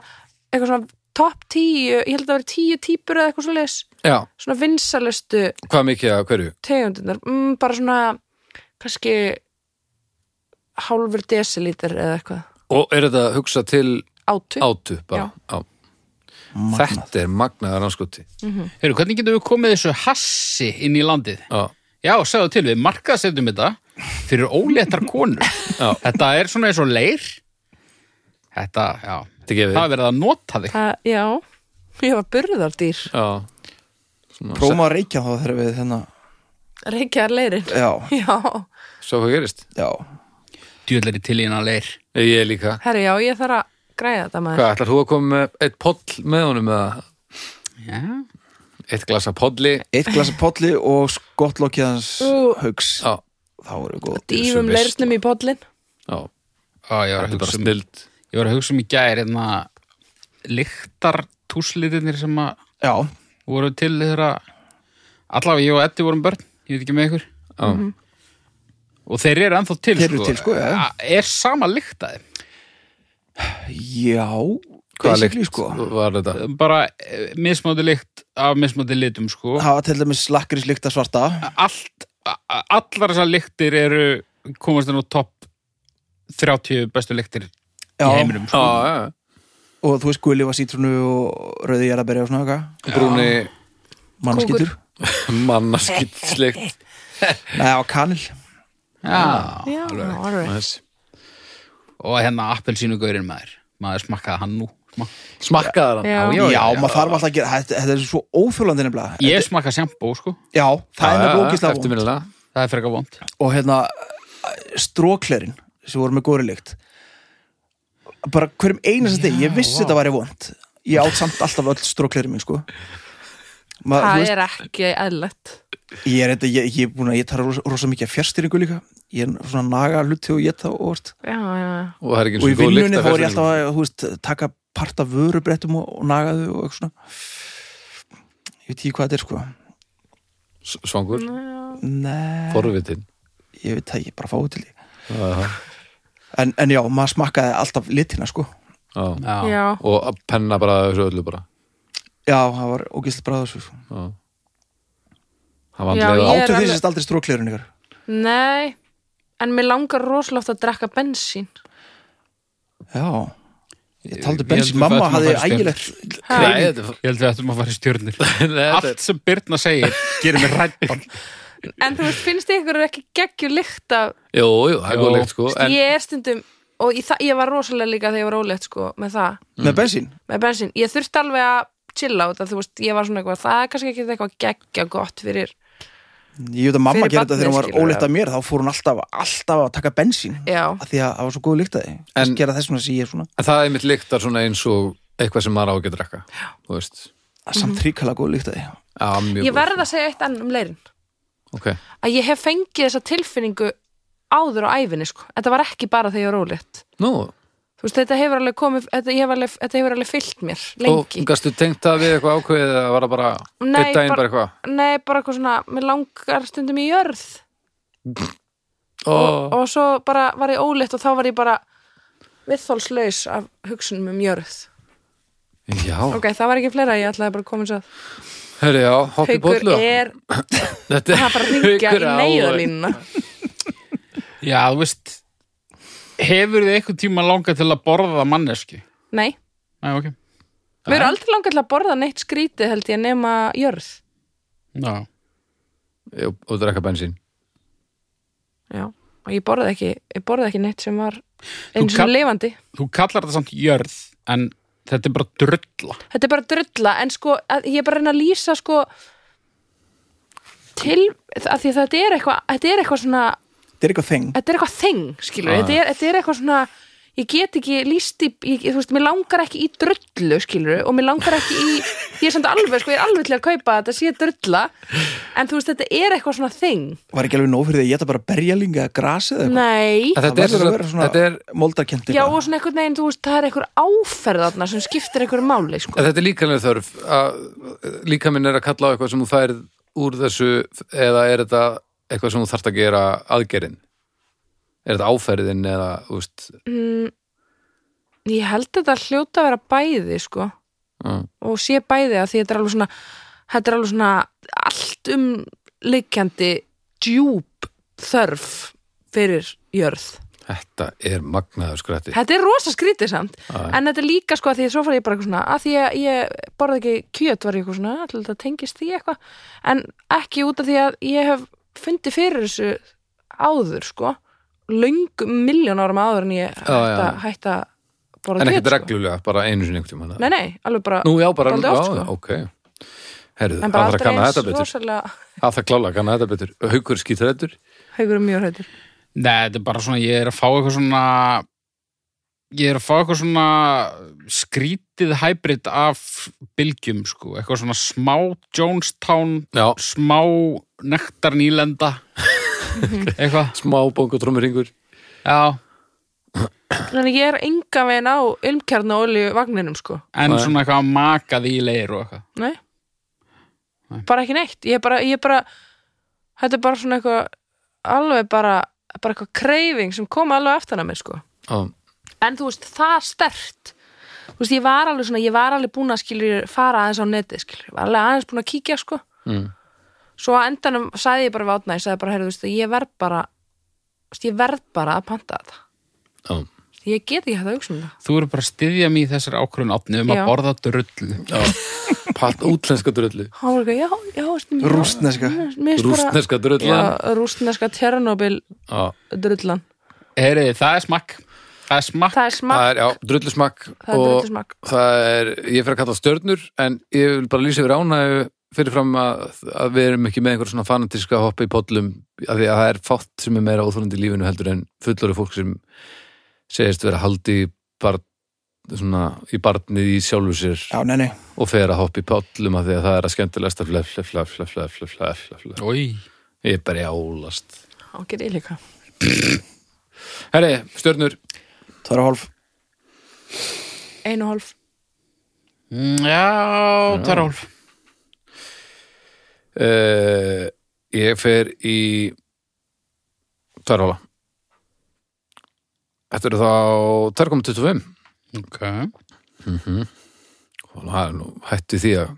S4: eitthvað svona top 10, ég held að það var 10 típur eða eitthvað svoleiðis,
S2: já,
S4: svona vinsalustu
S2: hvað mikið að hverju?
S4: tegundunar mm, bara svona kannski hálfur desilítur eða eitthvað,
S2: og er þetta að hugsa til
S4: átu
S2: átu bara já. þetta er magnaðar anskoti
S1: Heru, hvernig getum við komið þessu hassi inn í landið?
S2: já,
S1: Já, segðu til við, markaðsetjum þetta fyrir óléttar konur.
S2: Já.
S1: Þetta er svona eins og leir. Þetta, já,
S2: þetta gefið
S1: það er verið að nota þig.
S4: það, já, ég var burðardýr
S2: já, svona,
S3: Prófum að reykja þá þegar við þennan
S4: reykjaðar leirin
S3: Já,
S4: já
S2: sá- sjá hvað gerist
S3: já
S1: Djúðlega til í hana leir.
S2: ég líka,
S4: Herru, já, ég þarf að græða þetta maður.
S2: hvað ætlar þú að koma með eitt poll með honum eða
S1: Já,
S2: eitt glasa polli
S3: Eitt glasa polli og skottlokkiðans
S4: Ú.
S3: haugs
S2: já,
S3: Þá erum við góð
S4: Dýfum
S2: Þessu veisla.
S4: leirnum í podlin.
S2: já,
S1: Ó, ég, var að
S2: þetta er bara
S1: hugsa um,
S2: snild
S1: ég var að hugsa um í gær einna lyktartúslitinir sem að
S3: Já,
S1: voru til þeirra allavega ég og Eddi vorum börn, ég veit ekki með ykkur
S2: já,
S1: og þeir eru ennþá til,
S3: Mhm. Þeir eru til, sko, já.
S1: A- er sama lykt að þeim
S3: já
S2: hvað
S3: basically,
S2: líkt
S3: sko.
S2: var þetta
S1: bara eh, mismandi lykt af mismandi litum sko.
S3: Hafa til dæmis lakkríslykta svarta
S1: allt, a- a- allar þessar lyktir eru komast enn á topp 30 bestu lyktir
S3: Já,
S1: í heiminum
S2: já,
S1: sko.
S2: já,
S3: og þú veist gullifa sítrónu og rauði jarðaberi og svona eitthvað
S2: brúni
S3: Mannaskittur
S2: mannaskitt
S4: *laughs*
S2: sleikt
S3: Nei, á kanil
S1: já.
S4: Já, alveg.
S2: Nice.
S1: og hérna appelsínugaurin maður maður smakkaði hann nú Smak-
S2: smakkaðar hann
S1: Já,
S4: Já,
S1: já,
S3: Já,
S1: já.
S3: maður þarf alltaf að gera Þetta, þetta er svo óþjólandi nefnilega
S1: ég smakkaði sjampó sko,
S3: Já, það er
S2: Já,
S3: nefnilega
S2: já,
S3: ógislega vond
S2: eftirminnilega.
S1: það er frekar vond
S3: og hérna stróklerin sem voru með góri lykt bara hverjum einast deg ég vissi þetta væri vond ég átt samt alltaf öll stróklerin mín sko Ma,
S4: Það
S3: veist,
S4: er ekki eðlett.
S3: ég er þetta, ég, ég er búin að ég tarf rosa, rosa mikið af fjárstyringu líka ég er svona að naga hluti og ég þá og, veist,
S4: Já, já, já.
S2: og það er ekki eins
S3: og í
S2: góð lykt
S3: vinnunni
S2: af
S3: þá er ég
S2: ferskum.
S3: alltaf að þú veist, taka part af vörubrettum og, og naga þau og eitthvað svona ég veit ekki hvað þetta er sko
S2: S- svangur,
S4: Mm.
S3: Nei,
S2: forvitin
S3: ég veit það, ég bara fáið til því
S2: Aha,
S3: en, en já, maður smakkaði alltaf litina sko
S2: já.
S1: já.
S4: Já,
S2: og að penna bara þessu öllu bara
S3: já, það var ógislega bræða svo sko
S2: já. það var
S4: Já,
S2: andlega
S4: ég-
S2: ég...
S4: er
S3: Áttu
S4: alveg-
S3: þið sérst aldrei strókleirun ykkur?
S4: nei. En mér langar rosalóft að drekka bensín.
S3: Já Ég taldi
S1: Ég held
S3: bensin,
S1: við
S3: mamma
S1: fættum að
S3: hafði
S1: fara í stjörn.
S3: ægilegt
S4: Ha,
S2: Nei, þetta
S1: ég held við ættum að fara í stjórnir
S2: Þetta
S1: allt sem Birna segir gerir mér rættan
S4: En þú veist, finnst þið ykkur ekki geggju lykt af...
S2: Jú, jú, það er
S1: Jú.
S2: góð lykt sko en,
S4: Ég er stundum, og ég, þa- ég var rosalega líka þegar ég var ólegt, sko, með það.
S3: með bensin
S4: Með bensín. Ég þurfti alveg að chilla út að þú veist, ég var svona eitthvað, það er kannski ekki eitthvað geggja gott fyrir...
S3: Ég veit að mamma
S4: Fyrir
S3: gerði þetta þegar hún
S4: barnið,
S3: var
S4: skilurðu.
S3: óleitt af mér þá fór hún alltaf, alltaf að taka bensin
S4: Já,
S3: af því að það var svo góð líkt að því
S2: En-
S3: en, gera þess svona sem ég er svona
S2: en það er mitt lyktar svona eins og eitthvað sem maður á ekki að drekka Þú veist
S3: samt ríkala góð líkt að því
S2: Já, mjög
S4: ég verð að segja eitt enn um leirin.
S2: góð Ok,
S4: að ég hef fengið þessa tilfinningu áður á æfinni sko. þetta var ekki bara þegar ég var ólétt
S2: nú
S4: Þú veist, þetta hefur alveg komið þetta, ég hef alveg, þetta hefur alveg fyllt mér lengi
S2: Og gastu tengt það við eitthvað ákveðið að var það bara
S4: Nei,
S2: Eitt daginn
S4: bara-
S2: bara eitthvað
S4: nei, bara eitthvað svona, mér langar stundum í jörð og,
S2: Ó,
S4: og svo bara var ég ólétt og þá var ég bara viðþólslaus af hugsunum um jörð
S2: Já,
S4: ok, það var ekki fleira, ég ætlaði bara að koma eins að
S2: hörru, já, hoppi
S4: haukur
S2: bóllu
S4: er,
S2: Þetta
S4: það er
S2: *laughs*
S4: bara að ringja
S2: Haukur
S4: í
S2: á-
S4: neyðalínuna
S1: já, þú veist hefur þið eitthvað tíma langað til að borða mannesku?
S4: nei,
S1: Nei, ok
S4: mér er aldrei langar til að borða neitt skrítið held ég nema jörð
S1: Já,
S2: Jú, Og drekka bensín
S4: Já, og ég borðaði ekki, ég borðaði ekki neitt sem var
S1: Þú
S4: eins og
S1: kall-
S4: lifandi.
S1: þú kallar þetta samt jörð en þetta er bara drulla
S4: þetta er bara drulla en sko, að, ég er bara að reyna að lýsa sko til, að því að þetta er eitthvað þetta er eitthvað svona,
S3: þetta er eitthvað þing
S4: þetta er eitthvað þing skilur,
S2: Ah.
S4: þetta, er, þetta er eitthvað svona ég get ekki lýst í, ég, þú veist, mér langar ekki í drullu skilur, og mér langar ekki í ég er samt alveg, sko, ég er alveg til að kaupa þetta sé drulla, en þú veist, þetta er eitthvað svona þing,
S3: var ekki alveg nóg fyrir því að ég ætla bara að berja líka grasið eða eitthvað
S4: nei
S2: En
S3: það
S2: þetta er,
S3: verður
S2: sem
S3: að
S2: sagt-
S3: vera svona
S2: þetta er
S3: moldarkent
S4: já, og svona eitthvað neginn, þú veist, það er eitthvað áferðarna sem skiptir eitthvað máli, sko
S2: En þetta er líkanlega þörf að líkaminn er að kalla á eitthvað sem þú færð úr þessu eða er þetta eitthvað sem þú þarft að gera aðgerinn er þetta áferðin eða úst,
S4: mm, ég held að þetta hljóta að vera bæði, sko
S2: uh,
S4: og sé bæði að því þetta er alveg svona þetta er alveg svona allt um likjandi djúb þörf fyrir jörð.
S2: þetta er magnaður skrætti
S4: Þetta er rosa skrítið samt
S2: en,
S4: en þetta er líka sko að því að svo fór ég bara eitthvað svona að því að ég borða ekki kjöt var ég eitthvað svona alltaf þetta tengist því eitthvað en ekki út af því að ég hef fundið fyrir þessu áður sko löng miljón árum áður en ég
S2: Já, já.
S4: hætta, hætta borða
S2: en
S4: kjöt
S2: ekkert
S4: sko.
S2: reglulega, bara einu sinni einhvern tímann
S4: Nei, nei, alveg bara
S2: Nú já, bara,
S4: Dálítið
S2: já,
S4: oft, sko.
S2: ok Herðu,
S4: en
S2: að
S4: bara
S2: það
S4: aldrei
S2: kanna þetta
S4: eins
S2: betur
S4: rosalega *laughs*
S2: að það klála kanna þetta betur haukur skýtrættur
S4: haugur um mjög hrættur
S1: Nei, þetta er bara svona, ég er að fá eitthvað svona ég er að fá eitthvað svona skrítið hybrid af bylgjum, sko eitthvað svona smá Jonestown
S2: já,
S1: smá nektarnýlenda eitthvað,
S2: smá bóngotrómuringur
S1: já
S4: Þannig ég er enga veginn á ilmkjarnu olju vagninum sko
S1: en
S2: Nei.
S1: svona eitthvað makað í leir og eitthvað
S4: Nei.
S1: Nei.
S4: Bara ekki neitt. Ég er bara, ég er bara, þetta er bara svona eitthvað, alveg bara, bara eitthvað kreifing sem kom alveg aftan að mér, sko.
S2: já,
S4: En þú veist, það stert. Þú veist, ég var alveg svona, ég var alveg búin að skilur fara aðeins á netið, skilur. Var alveg aðeins búin að kíkja, sko.
S2: mm,
S4: Svo að endanum sagði ég bara vátna, ég sagði bara, heyrðu, þú veist, ég verð bara, þú veist, ég verð bara að panta þetta.
S2: já,
S4: Ég get ekki hægt að hugsa um það.
S1: Þú eru bara að styðja mig í þessar ákvörðun átni um
S4: Já.
S1: að borða drullu
S2: já.
S4: *laughs*
S2: Pat, útlenska drullu
S4: Há var ekki, já, já, þú veist, mér-
S3: rústneska
S4: mér finnst bara-
S2: rústneska drullan
S4: Já, rústneska Tjernobyl
S2: já.
S4: drullan
S1: Heyriði, það er smakk Það er smakk
S4: það er
S2: það
S4: smakk,
S2: er, já, drullusmakk
S4: það er
S2: og
S4: drullusmakk
S2: það er, ég fer að kalla það stjörnur en ég vil bara lýsa yfir ánægju fyrirfram að, að við erum ekki með einhver svona fanatíska hoppa í pollum af því að það er fátt sem er meira óþólandi í lífinu heldur en fullori fólk sem segist vera haldi í barn, svona, í barnið í sjálfu sér
S3: já, nei, nei,
S2: og fer að hoppa í pollum af því að það er að skemmtilegast að flef, flef, flef, flef, flef, flef, flef, flef, flef.
S1: Í.
S2: ég er bara í álast
S4: á, gerði ég líka
S2: herri, stjörnur,
S3: það er hálf
S4: einu og hálf
S1: Mm, Já, það er hálf
S2: uh, ég fer í tværhóla Þetta eru þá 2,25
S1: Ok
S2: og það er nú hættu því að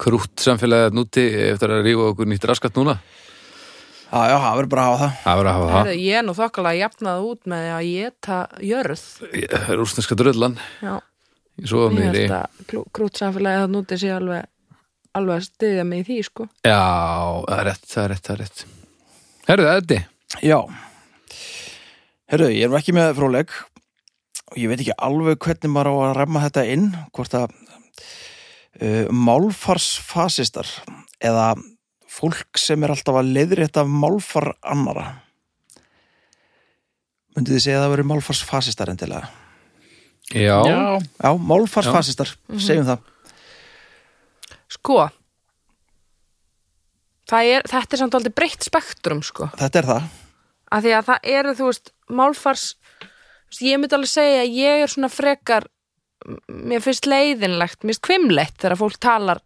S2: krútt samfélagið þarna úti eftir að rífa okkur nýtt raskat núna
S3: já, já, það verður bara að hafa það
S2: það verður að hafa
S4: Heyrðu, ég er nú þokkalega jafnað út með því að geta jörð
S2: það rúsneska drullan
S4: Já,
S2: í svo
S4: ég
S2: mýri
S4: held að krútsamfélagi það núti sé alveg alveg að styðja mig í því sko
S2: Já, það er rétt, það er rétt, það er rétt Herðu það, Eddi
S3: Já Herru, ég er nú ekki með fróleg og ég veit ekki alveg hvernig maður á að remma þetta inn hvort að uh, málfarsfasistar eða fólk sem er alltaf að leiðrétta málfar annara Mundið þið segja að það verið málfarsfasistar endilega
S2: Já,
S1: Já,
S3: Já, málfarsfasistar, segjum það
S4: Sko það er, Þetta er samt aldrei breytt spektrum sko
S3: Þetta er það
S4: af því að það eru, þú veist, málfars þú veist, ég myndi alveg segja að ég er svona frekar m- mér finnst leiðinlegt, mér finnst kvimleitt þegar fólk talar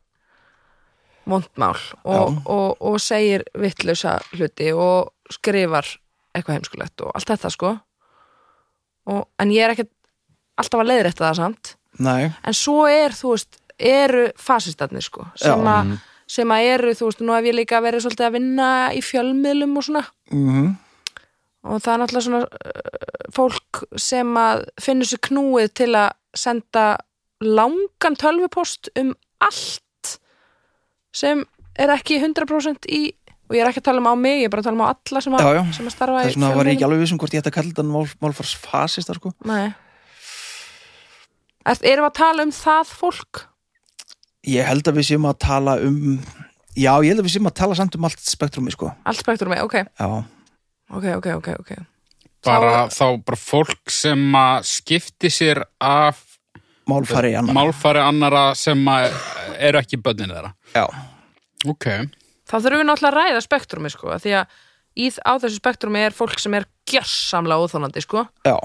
S4: vondmál og,
S3: Já.
S4: og, og segir vittlausa hluti og skrifar eitthvað heimskulegt og allt þetta sko og, en ég er ekkert alltaf að leiðrétta það samt
S3: Nei,
S4: en svo er, þú veist, eru fasistarnir sko, sem,
S3: Já. Mhm.
S4: að, sem að eru, þú veist, nú hef ég líka verið svolítið að vinna í fjölmiðlum og svona
S3: mm
S4: og það er náttúrulega svona uh, fólk sem að finnur sér knúið til að senda langan tölvupost um allt sem er ekki 100% í og ég er ekki að tala um á mig, ég er bara að tala um á alla sem að,
S3: Já, já.
S4: Sem að starfa
S3: þess um vegna var ég ekki alveg vissum hvort ég ætti að kalla þetta mál, málfarsfasistar sko
S4: Nei, Er, erum við að tala um það fólk?
S3: Ég held að við séum að tala um Já, ég held að við séum að tala samt um allt spektrumi sko.
S4: Allt spektrum með, ok,
S3: Já,
S4: ok, ok, ok, ok.
S1: bara þá bara fólk sem að skipti sér af
S3: málfari í annar
S1: málfari annara sem að eru ekki bönnin þeirra
S3: Já,
S1: ok,
S4: Þá þurfum við náttúrulega að ræða spektrumi, sko, af því að í, á þessu spektrumi er fólk sem er gjörsamlega óþólandi, sko,
S3: já,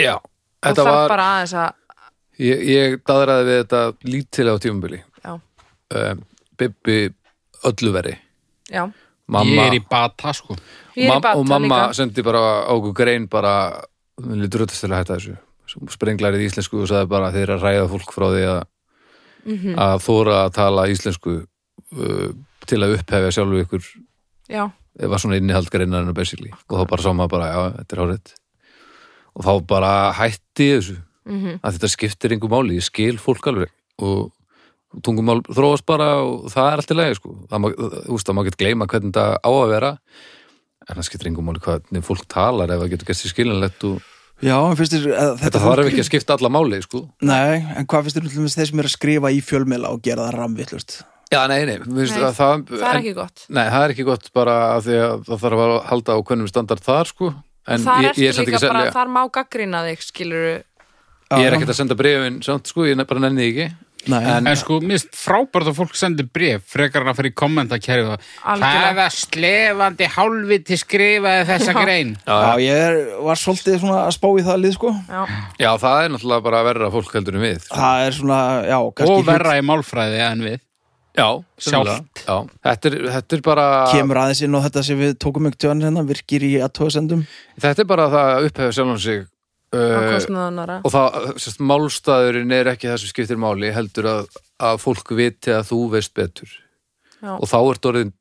S2: Já,
S4: og
S2: þetta
S4: það
S2: var,
S4: bara aðeins að,
S2: ég, ég daðraði við þetta lítilega á tímabili.
S4: já,
S2: Um, Bibbi ölluveri.
S4: já,
S1: ég
S2: Mamma,
S1: er í bata sko
S4: ég er í
S2: mam-
S4: bata
S2: og mamma
S4: líka.
S2: sendi bara á okkur grein bara, hún lítur auðvitað til að hætta þessu. Svo Sprenglarið í íslensku og sagði bara þeir eru að ræða fólk frá því að,
S4: Mhm.
S2: að þóra að tala íslensku uh, til að upphefja sjálfu ykkur
S4: Já,
S2: var svona innihald greinarinn basically og þá bara sá maður bara, já, þetta er hárið og þá bara hætti ég þessu
S4: mhm,
S2: að þetta skiptir einhver máli, ég skil fólk alveg og tungumál þróast bara og það er allt í lagi sko það má, þú veist, það má get gleyma hvernig þetta á að vera en það skiptir einhver máli hvernig fólk talar ef það getur gert sér skilinlegt og
S3: já en finnst þér að
S2: þetta þarf ekki að skipta alla máli sko
S3: Nei, en hvað finnst þér um þeir sem er að skrifa í fjölmiðla og gera það ramvillust
S2: já, nei, nei, nei
S4: Nei,
S2: það,
S4: það er
S2: en,
S4: ekki gott.
S2: nei, það er ekki gott bara að því að það þarf að halda á hvernig standard þar sko en
S4: Þar
S2: ég,
S4: ertu
S2: ég er samt
S4: líka
S2: ekki að
S4: bara,
S2: selja
S4: þar má gaggrina þig, skiluru,
S2: ég er ekkert að senda brefin samt sko, ég nefn- bara nenni því ekki
S3: Nei,
S2: en,
S1: en sko, mér finnst frábært að fólk sendir bref frekar en að fyrir kommentarkerfið
S4: Algjörlega.
S1: það var slefandi hálfviti skrifaði þessa grein
S3: já, ég er, var svolítið svona að spá í það lið sko
S4: já,
S2: já, það er náttúrulega bara verra fólk heldur en við sko.
S3: Það er svona, já,
S1: og
S3: kannski
S1: verra í málfræði en við
S2: já,
S1: Sjálft.
S2: sennilega. já. Þetta, er, þetta er bara
S3: kemur aðeins inn á þetta sem við tókum ykkur tjóðan hérna, virkir í aðtóðasendum
S2: þetta er bara það að upphefja sjálfan sig
S4: á
S2: uh,
S4: kostnaðanara.
S2: og það, sérst, málstæðurinn er ekki það sem skiptir máli heldur að, að fólk viti að þú veist betur
S4: Já.
S2: og þá ert orðin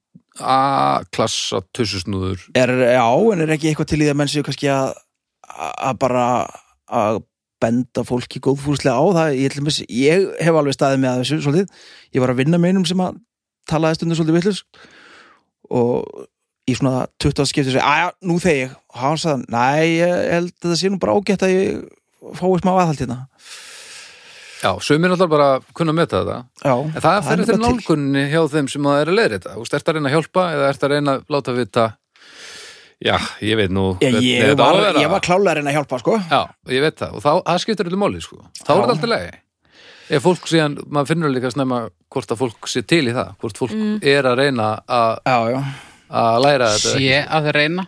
S2: A-klassa tussusnúður
S3: er, Já, en er ekki eitthvað til í það menn séu kannski að að bara að benda fólki góðfúrslega á það ég, ætlum, ég hef alveg staðið með að þessu svolítið. ég var að vinna með einum sem að talaði stundum svolítið villus og í svona 20 skipti segi, aðja, nú þegi ég og hann sagði, næ, ég held að það sé nú bara ágætt að ég fáið smá aðhald hérna
S2: Já, sömur náttúrulega bara kunna að meta þetta
S3: Já,
S2: En það
S3: er
S2: fyrir eftir
S3: nefnilega til.
S2: nálgunni hjá þeim sem það er að leiðri þetta. Þú veist, ert að reyna að hjálpa eða ert að reyna að láta vita Já, ég veit nú
S3: Ég,
S2: hvernig
S3: ég,
S2: þetta á að
S3: var,
S2: vera.
S3: ég var klálega að reyna að hjálpa sko.
S2: Já, ég veit það. Og þá, það skiptir öllu máli, sko. Þá er
S3: Já.
S2: þetta alltaf lagi. Ef fólk síðan, maður finnur líka snemma hvort að fólk sé til í það, hvort fólk
S3: Mm.
S2: er að reyna að
S3: Já, já
S2: að læra þetta.
S1: sé að reyna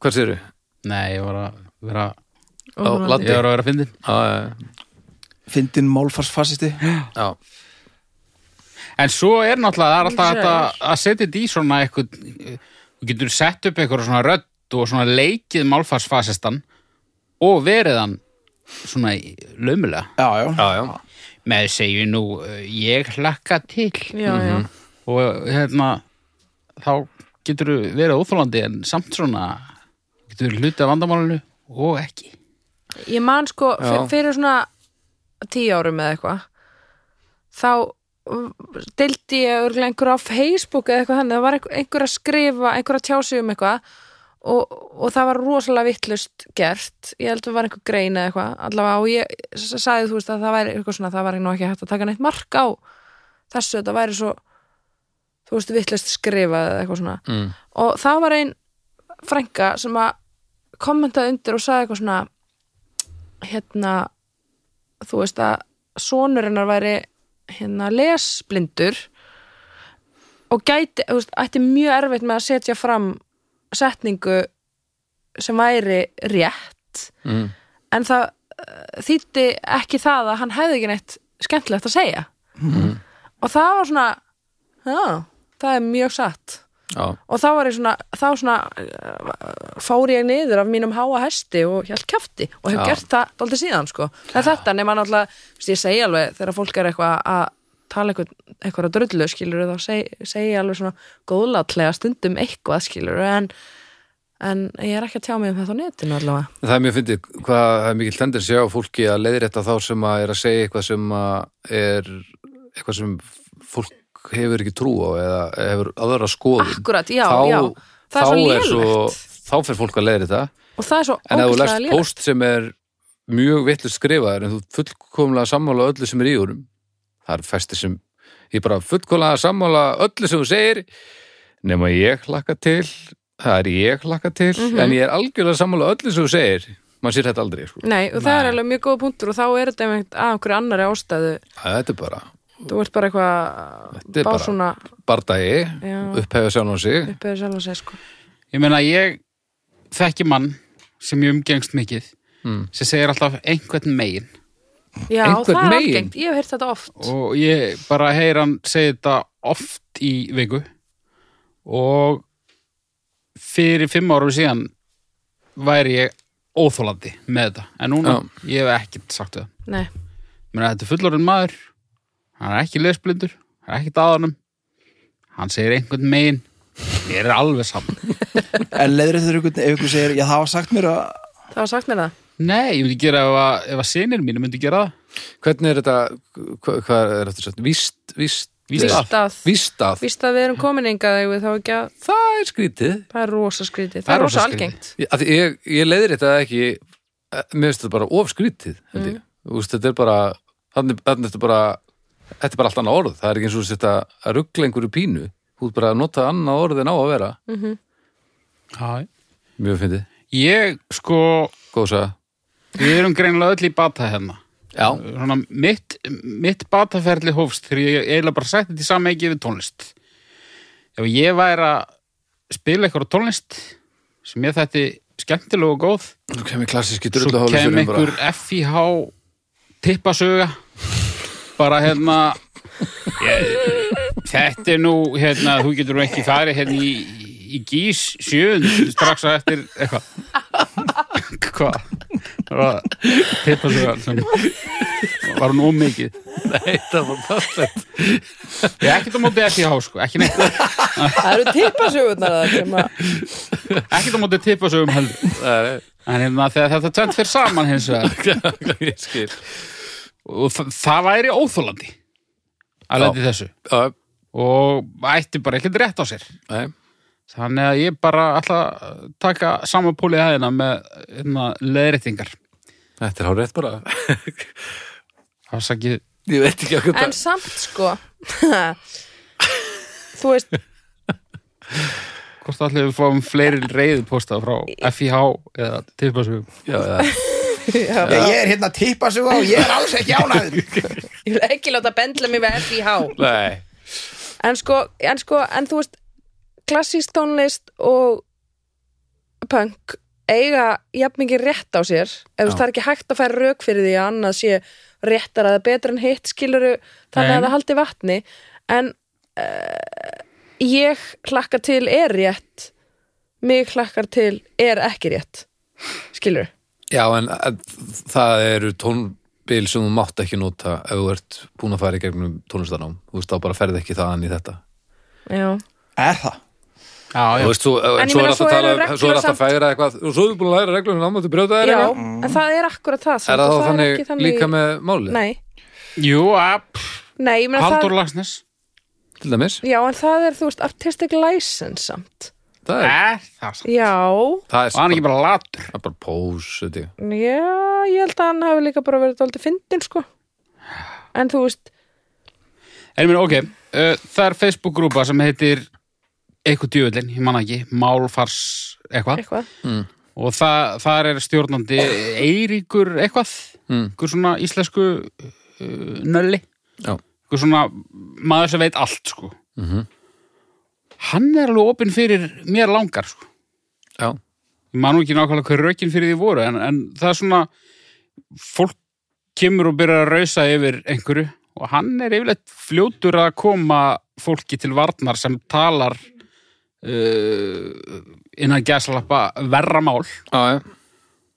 S2: Hvers eru?
S1: nei, ég var að vera
S2: Á
S1: ég
S2: landi.
S1: var að vera að fyndin
S2: Já, já,
S3: fyndin *gasps* málfarsfasisti
S2: já.
S1: En svo er náttúrulega, það er alltaf
S4: Ég
S1: þetta að setja þetta í svona eitthvað, þú getur sett upp eitthvað svona rödd og svona leikið málfarsfasistan og verið hann svona í- laumulega.
S3: Já, já,
S2: Já, já.
S1: Með segju nú, eh, ég hlakka til
S4: Já,
S2: Mhm.
S4: já,
S1: og hérna, þá getur þú verið óþólandi en samt svona getur þú hluti af vandamálinu og ekki.
S4: Ég man sko,
S2: Já.
S4: fyr- fyrir svona tíu árum eða eitthvað þá uh, deildi ég örgulega einhverja á Facebook eða eitthvað þannig, það var einhver- einhver að skrifa einhver að tjá sig um eitthvað og, og það var rosalega vittlust gert ég held að það var einhver grein eða eitthvað allavega og ég s- sagði þú veist að það væri eitthvað svona, það var nú ekki hægt að taka neitt mark á þessu, þetta væri svo þú veist, vittlust skrifað eða eitthvað svona
S2: Mm.
S4: og það var ein frænka sem að kommentaði undir og sagði eitthvað svona hérna þú veist að sonur hennar væri hérna lesblindur og gæti þú veist, ætti mjög erfitt með að setja fram setningu sem væri rétt
S2: Mm.
S4: en það eh, þýtti ekki það að hann hefði ekki neitt skemmtilegt að segja og það var svona já, það er mjög satt
S2: Já.
S4: og þá var ég svona, þá svona uh, fór ég niður af mínum háa hesti og hjælt kjafti og hef
S2: Já.
S4: gert það dálítið síðan sko en þetta nema náttúrulega, þú veist, ég segi alveg þegar fólk er eitthvað að tala eitthvað, eitthvað að drullu skilur þá seg, segi ég alveg svona góðlátlega stundum eitthvað skilur en, en ég er ekki að tjá mig um þetta á netinu allavega
S2: Það er mjög fyndið hvað það er mikil tendensi á fólki að leiðrétta þá sem að er að segja eitthvað sem að er eitthvað sem fólk hefur ekki trú á eða hefur aðra skoðun
S4: Akkurat, já,
S2: þá,
S4: já, það er svo
S2: þá
S4: lélegt
S2: þá fer fólk að leiðrétta
S4: og það er svo
S2: en ef þú
S4: ógeðslega
S2: lest
S4: lélegt
S2: post sem er mjög vittlust skrifaður en þú ert fullkomlega sammála öllu sem er í honum það er festi sem ég er bara fullkomlega sammála öllu sem þú segir nema ég hlakka til það er ég hlakka til
S4: Mhm.
S2: en ég er algjörlega sammála öllu sem þú segir maður sér þetta aldrei sko.
S4: Nei, og það
S1: Nei.
S4: er alveg mjög góða punktur og þá er þetta einhvern að einhverju annari ástæðu
S2: þetta er bara
S4: þú ert bara eitthvað
S2: Þetta er bara-
S4: básuna
S2: bardagi,
S4: Já.
S2: upphefja sjálfan sig
S4: uppeðu sjálf að segja sko
S1: Ég meina, ég þekki mann sem ég umgengst mikið
S2: Mm.
S1: sem segir alltaf einhvern megin
S4: Já,
S2: Einhvern
S4: það er
S2: megin.
S4: algengt, ég hef heyrt þetta oft
S1: og ég bara heyr hann segja þetta oft í viku og fyrir fimm árum síðan væri ég óþólandi með þetta en núna, ég hef ekkert sagt það
S4: Nei,
S1: Mér þetta er fullorinn maður hann er ekki lesblindur, hann er ekki daðanum hann segir einhvern megin mér er alveg saman
S3: en leiður þetta ykkur ef ykkur segir, já það var sagt mér að
S4: það var sagt mér það
S1: Nei, ég myndi gera ef að, ef að sinir mínu myndi gera það
S2: hvernig er þetta, hva, hvað er þetta sagt? víst, víst,
S1: Víst að.
S4: Víst að,
S2: víst að,
S4: víst að við erum komin engað eigum við þá ekki að,
S2: það er skrítið
S4: það er rosa skrítið Það er rosa
S1: skrítið.
S4: algengt
S2: Ég- af því ég, ég leiðir þetta ekki eh, mér finnst þetta bara ofskrítið mm. Úst, þetta er bara þannig, þannig þetta bara þetta er bara allt annað orð, það er ekki eins og þetta að ruggla einhverju pínu, þú ert bara að nota annað orð en á að vera,
S1: Já,
S2: mjög fyndið,
S1: Ég, sko,
S2: góð saga
S1: við erum greinilega öll í bata hérna
S2: já,
S1: Svona, mitt, mitt bataferli hófst þegar ég eiginlega bara sætti þetta í samhengi við tónlist Ef ég væri að spila eitthvað tónlist sem ég þætti skemmtilega og góð
S2: nú kemur klassíski
S1: svo kem
S2: drullahólusjörnum
S1: einhver
S2: bara
S1: FIH tippasöga bara hérna ég, þetta er nú hérna, þú getur nú ekki farið hérna í, í gís sjöðun strax að eftir eitthvað hvað Það var tippasöga sem var nú mikið
S2: *laughs* Nei, það var náttúrulega
S1: ég er ekkert á móti FIH sko, ekki neitt
S4: *laughs* Það eru tippasögurnar það sem að
S1: ekkert á móti tippasögum heldur en hérna þegar þetta tvennt fyrir saman hins vegar
S2: *laughs* ég skil
S1: og þa það væri óþólandi að
S2: Já.
S1: lendi þessu
S2: Já,
S1: og ætti bara ekkert rétt á sér
S2: nei.
S1: þannig að ég bara ætla að taka sama pólið aðeina með hérna, leðréttingar
S2: þetta er hárið bara
S1: afsakið
S2: ég veit ekki okkur
S4: *laughs* En
S2: það
S4: samt sko *laughs* Þú veist,
S1: hvort allir við fáum fleiri reyðu posta frá FIH eða tippasugum
S2: já, já.
S4: já,
S3: Já, ég er hérna að tippa sig á, ég er alls ekki ánæður
S4: ég vil ekki láta bendla mig með FIH
S2: Nei,
S4: en sko, en sko, en þú veist klassísk tónlist og punk eiga jafn mikið rétt á sér ef þú veist, það er ekki hægt að færa rauk fyrir því að annað sé réttar að það betra en hitt skiluru þannig
S1: Nei.
S4: að það haldi vatni en uh, ég hlakka til er rétt mig hlakkar til er ekki rétt skiluru
S2: já en eh, það eru tónbil sem þú mátt ekki nota ef þú ert búin að fara í gegnum tónlistanám þú veist þá bara ferð ekki þaðan í þetta
S4: Já.
S3: Er það?
S1: já,
S2: þú
S1: já,
S2: veist, svo,
S4: En
S2: en
S4: ég
S2: svo er
S4: meina,
S2: alltaf
S4: svo
S2: að
S4: eru
S2: tala um-
S4: reglur
S2: svo er alltaf að
S4: samt.
S2: færa eitthvað og svo er þú búin að læra reglum en ámáttu brjóta þær
S4: Já,
S2: eitthvað
S4: en það er akkurat það samt,
S2: er það
S4: og
S2: þá þannig,
S4: ekki þannig
S2: líka með máli
S4: Nei,
S1: jú, að pff,
S4: nei, ég meina það
S1: Haldur Lagsnes
S2: til dæmis,
S4: Já, en það er, þú veist, artistic license samt.
S2: það er,
S1: er það samt?
S4: Já,
S2: það er
S1: var hann ekki bara latur
S2: það er bara pós þetta.
S4: já, ég held að hann hafi líka bara verið dálítið fyndin, sko. En þú veist,
S1: en ég minn, ok, uh, það er Facebook-grúpa sem heitir eitthvað djöfullin, ég manna ekki, málfars eitthvað
S4: eitthvað.
S1: og það, þar er stjórnandi Eiríkur eitthvað
S2: Mm.
S1: einhver svona íslensku uh, nölli
S2: Já.
S1: einhver svona maður sem veit allt sko.
S2: Mhm.
S1: hann er alveg opinn fyrir mér langar sko.
S2: já,
S1: ég man nú ekki nákvæmlega hver rökin fyrir því voru en, en það er svona fólk kemur og byrjar að rausa yfir einhverju og hann er yfirleitt fljótur að koma fólki til varnar sem talar uh, innan gæslappa verra mál
S2: já, já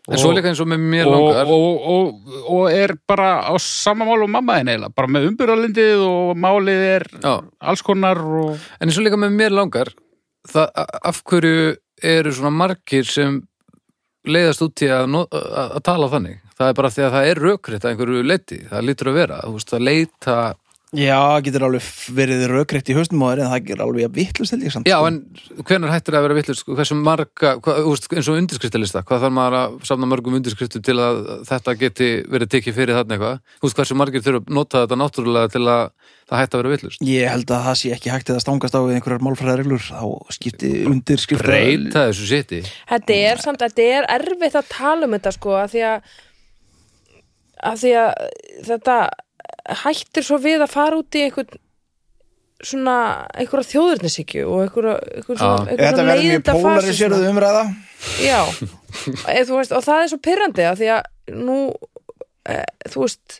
S2: en
S1: Og-
S2: svo líka eins og með mér
S1: og,
S2: langar
S1: og, og, og er bara á sama mál og mamma þinn eiginlega, bara með umbyrðalindið og málið er
S2: já,
S1: alls konar og
S2: en eins og líka með mér langar það, a- af hverju eru svona margir sem leiðast út í að, no- að að tala þannig það er bara því að það er rökrétt að einhverju leiti, það lítur að vera þú veist, að leita
S3: Já, getur alveg verið raukreitt í haustum á þér en það getur alveg að vittlust held ég samt
S2: Já,
S3: sko.
S2: en hvenær hættir það að vera vitlaust? sko? Hversu marga, hvað, úst, eins og undirskriftalista, hvað þarf maður að safna mörgum undirskriftum til að þetta geti verið tekið fyrir þarna eitthvað? Þú veist, hversu margir þurfa að nota þetta náttúrulega til að það hætti að vera vitlaust?
S3: Ég held að það sé ekki hægt eða stangast á við einhverjar málfræðareglur þá skipti undir skipta
S2: Breyta þessu seti?
S4: Þetta er samt, þetta er erfitt að tala um þetta sko, að því að að því að þetta hættir svo við að fara út í einhvern svona einhverja þjóðurnisíkju og einhverja, einhverja,
S2: Já.
S4: svona,
S3: Þetta
S4: einhverja
S3: verður mjög
S4: leiðinda
S3: pólariserðu umræða
S4: Já, e, þú veist, og það er svo pyrrandi að því að nú, e, þú veist,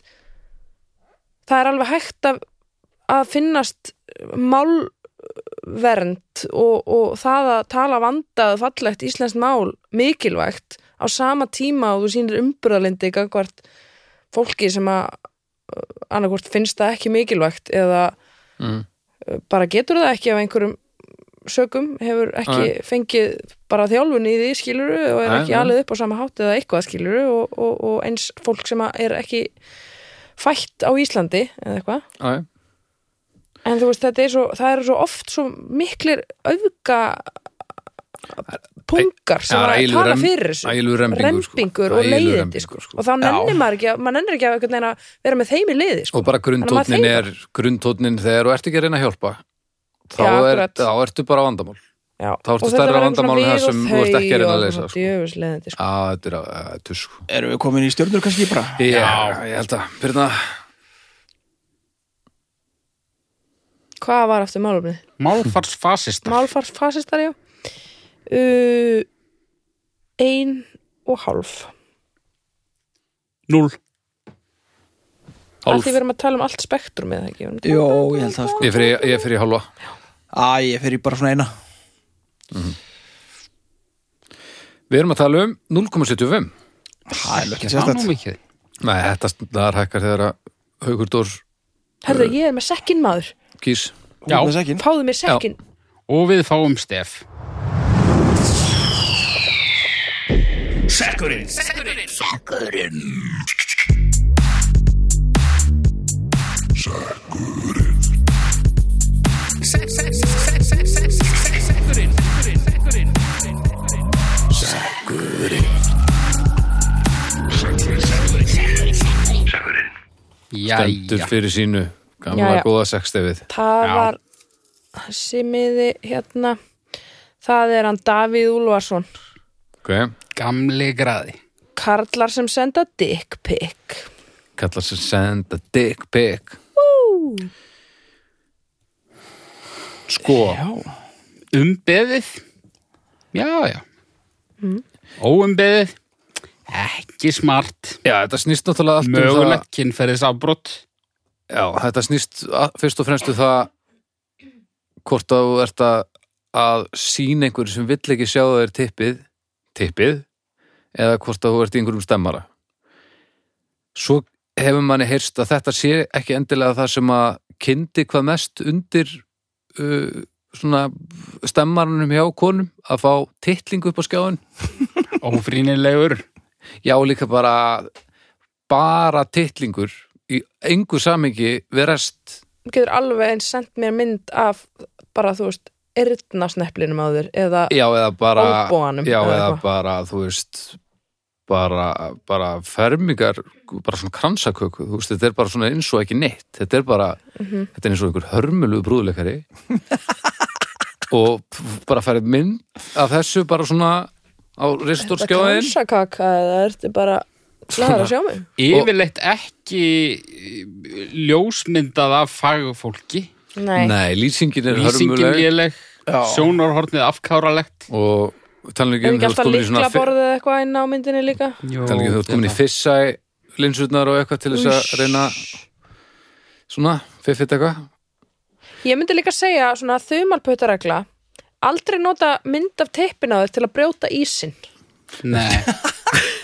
S4: það er alveg hægt að, að finnast málvernd og, og það að tala vandað fallegt íslenskt mál mikilvægt á sama tíma og þú sýnir umbröðalindi gangvart fólki sem að eh, annarkvort finnst það ekki mikilvægt eða
S2: Mm.
S4: bara getur það ekki af einhverjum sögum, hefur ekki fengið bara þjálfun í því skiluru og er
S2: Nei,
S4: ekki
S2: nei.
S4: alveg upp á sama hátt eða eitthvað skiluru og, og, og eins fólk sem að er ekki fætt á Íslandi eða eitthvað
S2: Æ,
S4: en þú veist þetta er svo, það eru svo oft svo miklir auðga pungar sem
S2: Já,
S4: að
S2: ægilegur
S4: tala
S2: rem-
S4: fyrir þessu
S2: ægilegur rembingur, sko.
S4: Rembingur og
S2: Ægilegur
S4: leiðindi
S2: rembingur,
S4: sko.
S2: sko.
S4: og þá nennir maður ekki, að- maður nennir ekki að einhvern veginn að vera með þeim í liði sko.
S2: Og bara
S4: Þannig að maður
S2: grunntótnin
S4: þegir.
S2: er, grunntótnin þegar og ert ekki að reyna að hjálpa, þá,
S4: Já,
S2: er,
S4: akkurat.
S2: þá ertu bara á vandamál.
S4: Já,
S2: Þá ertu
S4: og þetta
S2: stærra
S4: verður svona
S2: vandamál en það
S4: við og
S2: sem þú ert
S4: þau
S2: ekki að reyna að
S4: og
S2: leysa,
S4: svona
S2: sko.
S4: djöfulsleiðindi, sko.
S2: Á, þetta er að, að tusku.
S3: Erum við komin í stjörnur kannski bara?
S2: Já, ég held að, fyrir það,
S4: Hvað var aftur málumni?
S1: Málfarsfasistar.
S4: Málfarsfasistar, já uh, Ein og hálf
S1: Núl.
S4: Af því við erum að tala um allt spektrum eða ekki Við
S3: Jó,
S4: erum að-
S3: ég held það sko
S2: ég fer í- ég fyrir í hálfa.
S3: Æ, ég fer í bara svona eina
S2: Við erum að tala um 0,75.
S3: Það er ekki
S1: Ekki það
S3: sérstætt
S1: nú mikið.
S2: Nei, þetta snar hækkar þegar að Haugur Dórs
S4: Herðu, ég er með sekkin maður
S2: kýs.
S1: Já,
S3: Út með sekkinn.
S4: Fáðu mér sekkin
S1: og við fáum stef.
S2: Stendur
S1: Jæja.
S2: fyrir sínu. Gamla
S4: Jæja.
S2: góða sextefið.
S4: Það
S1: Já.
S4: var þessi miði hérna Það er hann Davíð Úlfarsson
S2: Ok,
S1: Gamli graði.
S4: Karlar sem senda dick pic
S2: kallar sér send a dick pic. Sko,
S1: Umbeðið. Já, já. Óumbeðið. Ekki smart.
S2: já, þetta snýst náttúrulega allt um það.
S1: Mögulegt kynferðisafbrott.
S2: Já, þetta snýst a- fyrst og fremstu það hvort að þú ert að, að sína einhverju sem vill ekki sjá þér tippið, tippið, eða hvort að þú ert í einhverjum stemmara. Svo hefur manni heyrst að þetta sé ekki endilega það sem að kyndi hvað mest undir uh, svona stemmaranum hjá konum að fá titlingu upp á skjáin.
S1: Ófrínilegur.
S2: Já, líka bara bara titlingur í engu samingi verðast
S4: Þú getur alveg eins sendt mér mynd af bara, þú veist, erðnasneplinum á þér eða
S2: já, eða bara
S4: Óbóanum,
S2: já,
S4: eða
S2: eða
S4: eitthvað.
S2: bara, þú veist bara, bara fermingar bara svona kransaköku, þú veist þetta er bara svona eins og ekki neitt, þetta er bara
S4: Mhm.
S2: þetta er eins og einhver hörmulu
S4: *laughs*
S2: brúðleikari og p- bara færið mynd af þessu bara svona á ristorskjáðin
S4: kransakaka eða ertu bara glæður
S2: *laughs*
S4: að sjá mig
S1: Yfirleitt ekki eh, ljósmyndað af fagfólki.
S4: Nei,
S2: nei, lýsingin er
S1: Lýsingin
S2: hörmuleg
S1: léleg. Sjónarhornið afkáralegt.
S2: og tala ekki
S4: er
S2: um
S4: ekki
S2: þegar þú
S4: alltaf
S2: komin í svona
S4: líkla
S2: fi-
S4: borðið eitthvað inn á myndinni líka
S2: tala ekki um þegar þú ert komin í fissæ linsurnar og eitthvað til þess að reyna svona, fiffit eitthvað
S4: Ég myndi líka segja svona þumalpötaregla aldrei nota mynd af teppin á þér til að brjóta ísinn
S1: Nei.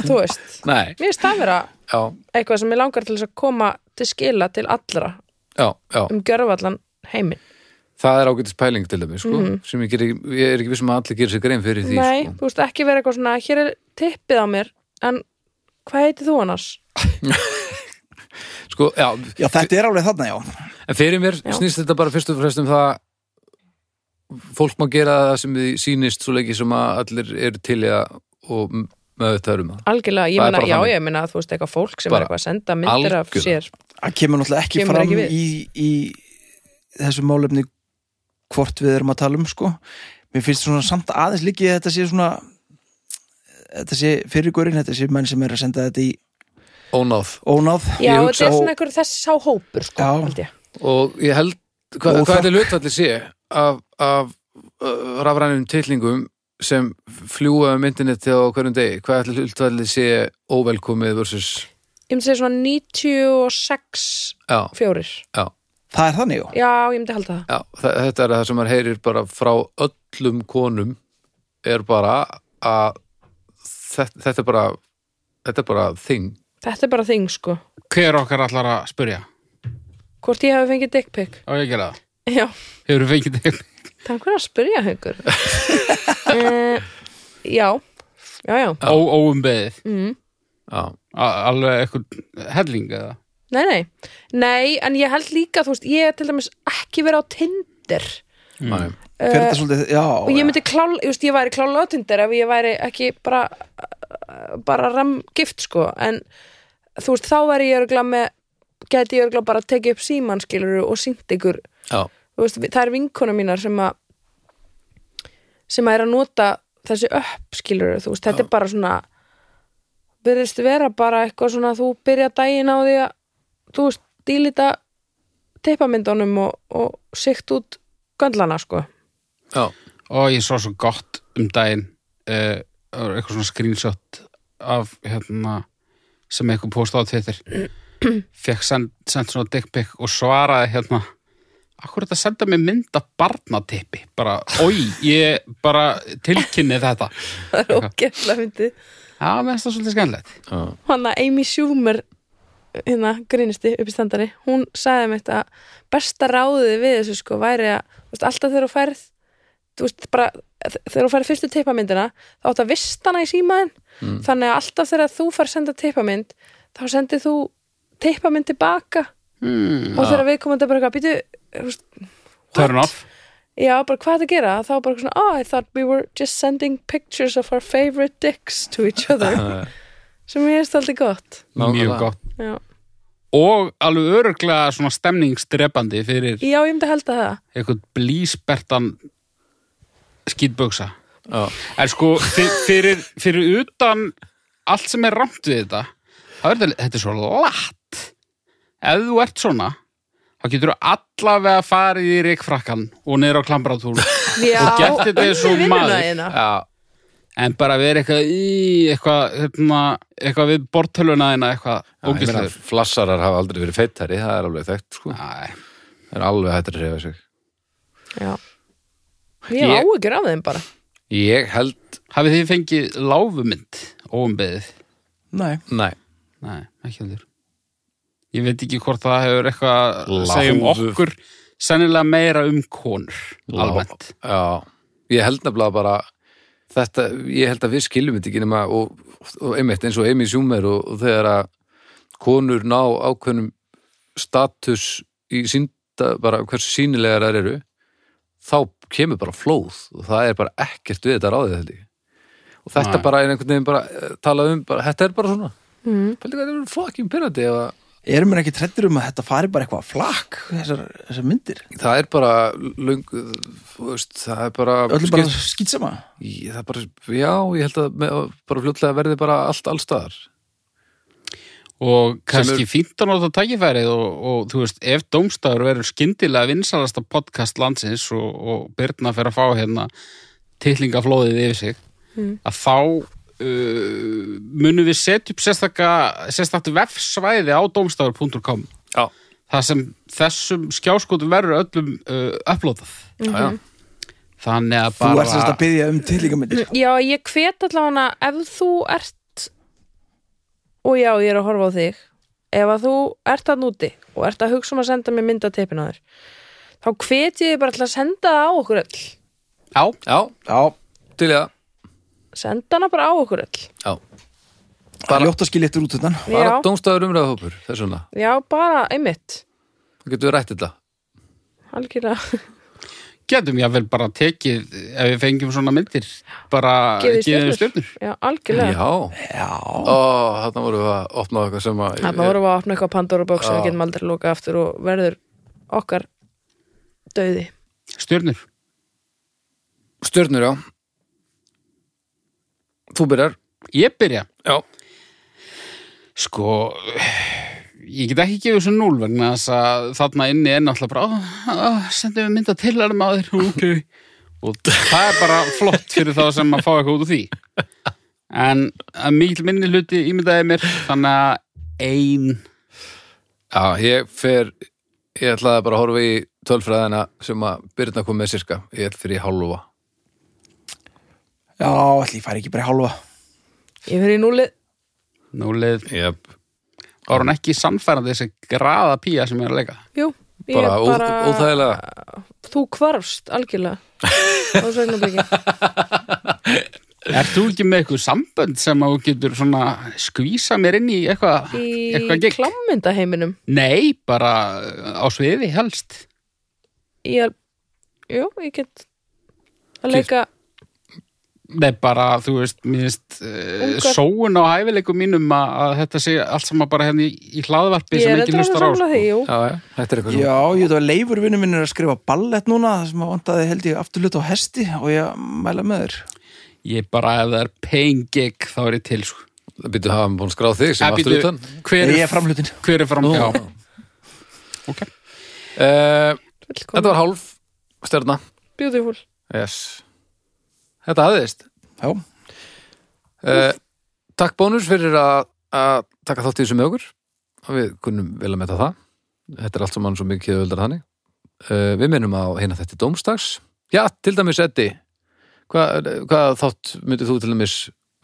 S4: þú veist,
S2: nei,
S4: mér finnst það vera
S2: já,
S4: eitthvað sem ég langar til þess að koma til skila til allra
S2: já, já
S4: um gjörvallan heiminn
S2: það er ágætis pæling til dæmis, sko, sem ég, geri, ég er ekki vissum að allir gerir sér grein fyrir því,
S4: Mhm. Nei,
S2: sko.
S4: þú veist ekki vera eitthvað svona hér er tippið á mér, en hvað heitir þú annars?
S2: Sko, já,
S3: Já, þetta er alveg þarna, já
S2: En fyrir mér
S4: Já.
S2: snýst þetta bara fyrst og fremst um það fólk má gera það sem þið sýnist svo lengi sem að allir eru til í það og m- með þetta erum það.
S4: algjörlega, ég
S2: Það er
S4: meina,
S2: bara
S4: já,
S2: þannig.
S4: ég meina þú veist eitthvað fólk sem
S2: Bara
S4: er eitthvað að senda myndir af
S2: algjörlega.
S4: sér
S3: það kemur náttúrulega ekki
S4: Kemur
S3: fram
S4: ekki við.
S3: í, í þessu málefni hvort við erum að tala um sko. mér finnst svona samt aðeins líki að þetta sé svona þetta sé fyrirgurinn, þetta sé menn sem er að senda þetta í
S2: Ónáð.
S3: ónáð
S4: já,
S2: Ég
S4: þetta
S2: hugsa
S4: er
S2: á-
S4: svona einhver þess sá hópur sko,
S3: Já.
S4: held ég.
S2: Og ég held, hvað,
S3: Og
S2: hvað
S3: það-
S2: þetta hlutfalli sé af, af uh, rafrænum tillingum sem fljúa um interneti á hverjum degi, hvað ætli hlutfalli sé óvelkomið versus,
S4: ég myndi segja svona 96
S2: já,
S4: fjórir,
S3: það er þannig, já,
S4: já, ég myndi halda það
S2: já, þa- þetta er það sem maður heyrir bara frá öllum konum er bara að þetta, þetta er bara þetta er bara þing
S4: þetta er bara þing, sko,
S1: Hver okkar allar að spyrja?
S4: hvort ég hafi fengið dick pic *laughs*
S1: Á ég að gera það?
S4: já,
S1: Hefur þú fengið til?
S4: takk fyrir að spyrja
S2: *laughs*
S4: hengur uh, já já, já,
S1: Ó, óumbeðið.
S4: mhm
S2: já,
S1: A- Alveg eitthvað helling eða?
S4: Nei, nei, nei, en ég held líka þú veist, ég er til dæmis ekki verið á Tinder
S2: mm.
S3: fyrir þetta svolítið já,
S4: Eh, og ég myndi klála, ég veist, ég væri klála á Tinder ef ég væri ekki bara bara ramgift, sko en þú veist, þá væri ég örgla með gæti ég örgla bara að tekið upp símannskiluru og sínt ykkur,
S2: já,
S4: þú veist, það er vinkona mínar sem að sem að er að nota þessi upp skiluru, þú veist, þetta er bara svona byrðist vera bara eitthvað svona þú byrja daginn á því að þú veist, dýlita teipamyndunum og, og sikt út göndlana, sko *laughs*
S2: já,
S1: og ég svo svo gott um daginn uh, eitthvað svona screenshot af hérna sem eitthvað posta á Twitter fekk send, sendt svona dick pic og svaraði hérna Akkur er þetta að senda mér mynd af barnatipi bara, oi, ég bara tilkynni þetta
S4: það er ógeðlega myndið
S1: Já, mér finnst það svolítið skemmtilegt
S2: já,
S4: hann að Amy Schumer hérna grínisti uppistandari hún sagði mér að besta ráðið við þessu sko væri að þú veist, alltaf þegar þú færð þú veist, bara, þegar þú færð fyrstu teipamyndina þá átt að vista hana í símaðin þannig að alltaf þegar þú færð senda teipamynd þá sendir þú teipamynd tilbaka
S1: hmm.
S4: og þegar við komum þetta bara eitthvað býtu, þú veist,
S1: Turn off
S4: já bara hvað það gera þá bara svona, oh I thought we were just sending pictures of our favorite dicks to each other
S2: já,
S4: sem ég erst aldrei gott
S1: Mjög
S2: Nákvæmlega.
S1: gott
S4: já
S1: Og alveg öruglega svona stemningsdrepandi fyrir
S4: Já, ég myndi held að það.
S1: eitthvað blísbertan skýtböksa
S2: já.
S1: En sko, fyr- fyrir, fyrir utan allt sem er ramt við þetta, þá er þetta, þetta er svo latt. Ef þú ert svona, þá getur þú allavega farið í reikfrakkan og niður á klambratúl
S4: Já,
S1: og gert þetta eins og
S4: undir vinnuna
S1: maður.
S4: þína.
S1: Já. En bara verið eitthvað í eitthvað, hérna, eitthvað við bortöluna þína eitthvað
S2: ég meina,
S1: ógislegur.
S2: Flassarar hafa aldrei verið feittari, það er alveg þekkt sko.
S1: Æ,
S2: það er alveg hættir að reyfa sig
S4: Já. Ég hef
S2: Ég-
S4: áhyggjur af þeim bara.
S2: ég held,
S1: hafið þið fengið láfumynd óumbeðið?
S3: nei,
S2: næ,
S1: Nei, ekki heldur Ég veit ekki hvort það hefur eitthvað að
S2: Láfu.
S1: segja um okkur sennilega meira um konur
S2: Lá-
S1: almennt
S2: Já, ég held nefnilega bara þetta, ég held að við skiljum þetta ekki nema og, og einmitt eins og Amy Schumer og, og þegar að konur ná ákveðnum status í sínda, bara hversu sínilegar þær eru þá kemur bara flóð og það er bara ekkert við þetta ráðið held ég og þetta
S1: Nei.
S2: bara er einhvern veginn bara eh, talað um, bara, þetta er bara svona
S4: Mm.
S2: Pældi hvað þetta er fucking pyrrandi eða
S3: erum við ekki trettir um að þetta fari bara eitthvað flakk, þessar, þessar myndir
S2: það er bara löng, þú veist, það er bara
S3: öllum bara skýtsama
S2: Í- Það er bara, já, ég held að með, bara fljótlega verði bara allt allstaðar.
S1: og kannski
S2: er-
S1: fínt að nota tækifærið og, og þú veist, ef Dómstafur verður skyndilega vinsalasta podcast landsins og, og Byrna fer að fá hérna titlingaflóðið yfir sig að þá uh, munum við setja upp sérstaka sérstakt vefsvæði á domstafur.com
S2: Já.
S1: það sem þessum skjáskotum verður öllum uh, upplótað
S4: Mhm.
S2: Já, já.
S1: Þannig að
S3: þú
S1: bara
S3: ert sérst að byggja um tilíkamyndir
S4: Já, ég hvet allavega ef þú ert og já, ég er að horfa á þig ef að þú ert að núti og ert að hugsa um að senda mér mynd af teipin á þér þá hvet ég þig bara til að senda það á okkur öll
S1: Já,
S2: Já,
S3: já,
S2: til ég það.
S4: senda hana bara á okkur öll
S2: Já.
S3: bara ljótt að skilja eftir út undan
S2: Bara
S4: Já,
S2: dómstæður umræðahópur, þess vegna.
S4: já bara einmitt
S2: Þá getum við rætt þetta.
S4: algjörlega
S1: Getum ég vel bara tekið, ef við fengjum svona myndir, bara
S4: Gefið
S1: gefið
S4: stjörnur.
S1: stjörnur.
S4: já, algjörlega
S2: Já.
S3: Já,
S2: Ó, þarna vorum við að opna eitthvað sem að...
S4: Þannig vorum við að opna eitthvað Pandora box sem við
S2: Eh, Já.
S4: getum aldrei loka aftur og verður okkar döði
S1: Stjörnur.
S2: eh, Stjörnur, já. Þú byrjar.
S1: Ég byrja.
S2: Já.
S1: Sko, ég get ekki gefið þessu núl vegna þess að þarna inni er náttúrulega bara, "Ó, ó, sendum við mynda til erum á þér, ok. Og það er bara flott fyrir þá sem að fá eitthvað út úr því. En að mikil minni hluti ímyndaði mér, þannig að ein,
S2: Já, ég fer... Ég ætlaði bara að horfa í tölfræðina sem að Byrna kom með sirka. Ég ætla fyrir í hálfa.
S3: já, allir fær ekki bara í hálfa
S4: ég fyrir í núlið
S1: núlið,
S2: Jöp.
S1: var hún ekki sannfærandi þessi graða pía sem ég er að leika.
S4: Jú, ég
S2: Bara, ó- óþægilega.
S4: Þú hvarfst algjörlega á þessu augnabliki.
S2: *laughs*
S1: Ert þú ekki með eitthvað sambönd sem að þú getur svona skvísa mér inn í eitthvað, eitthvað
S4: Í
S1: gikk?
S4: klámyndaheiminum
S1: Nei, bara eh, á sviði helst.
S4: Ég, Jú, ég get að leika
S1: Nei, bara, þú veist, minnst uh,
S4: Ungar.
S1: sóun á hæfileikum mínum að, að þetta sé allt saman bara henni í, í hlaðvarpi
S4: Ég
S1: sem
S4: er
S1: ekki
S4: þetta alveg
S1: lustar á. sko.
S4: samla því, jú
S2: Já, já. Þetta er eitthvað sem...
S3: Já, ég veit að leifur vinnu minn er að skrifa ballett núna þar sem að vandaði held ég afturlut á hesti og ég mæla með þér
S1: Ég bara, ef það er paying gig, þá er ég til, sko.
S2: Býttu, hafa hann búin að skráð þig sem
S1: Eh,
S2: aftur
S1: bíddu,
S2: utan?
S1: Hver
S3: Ég
S1: er,
S3: er framhlutin
S1: hver er fram?
S2: Nú.
S1: Já. Ok.
S2: Eh,
S4: Fullkomin.
S2: Þetta var hálf stjörna.
S4: Beautiful
S2: Yes. Þetta hafðist.
S3: Já,
S2: Uh, takk bónus fyrir að að taka þátt í þessu með okkur. Og Við kunnum vel að metta það. Þetta er allt saman svo mikið öldar þannig. Uh, við minnum á hérna þetta dómstags. Já, til dæmis Eddi. Hvað, hvað þátt myndir þú til dæmis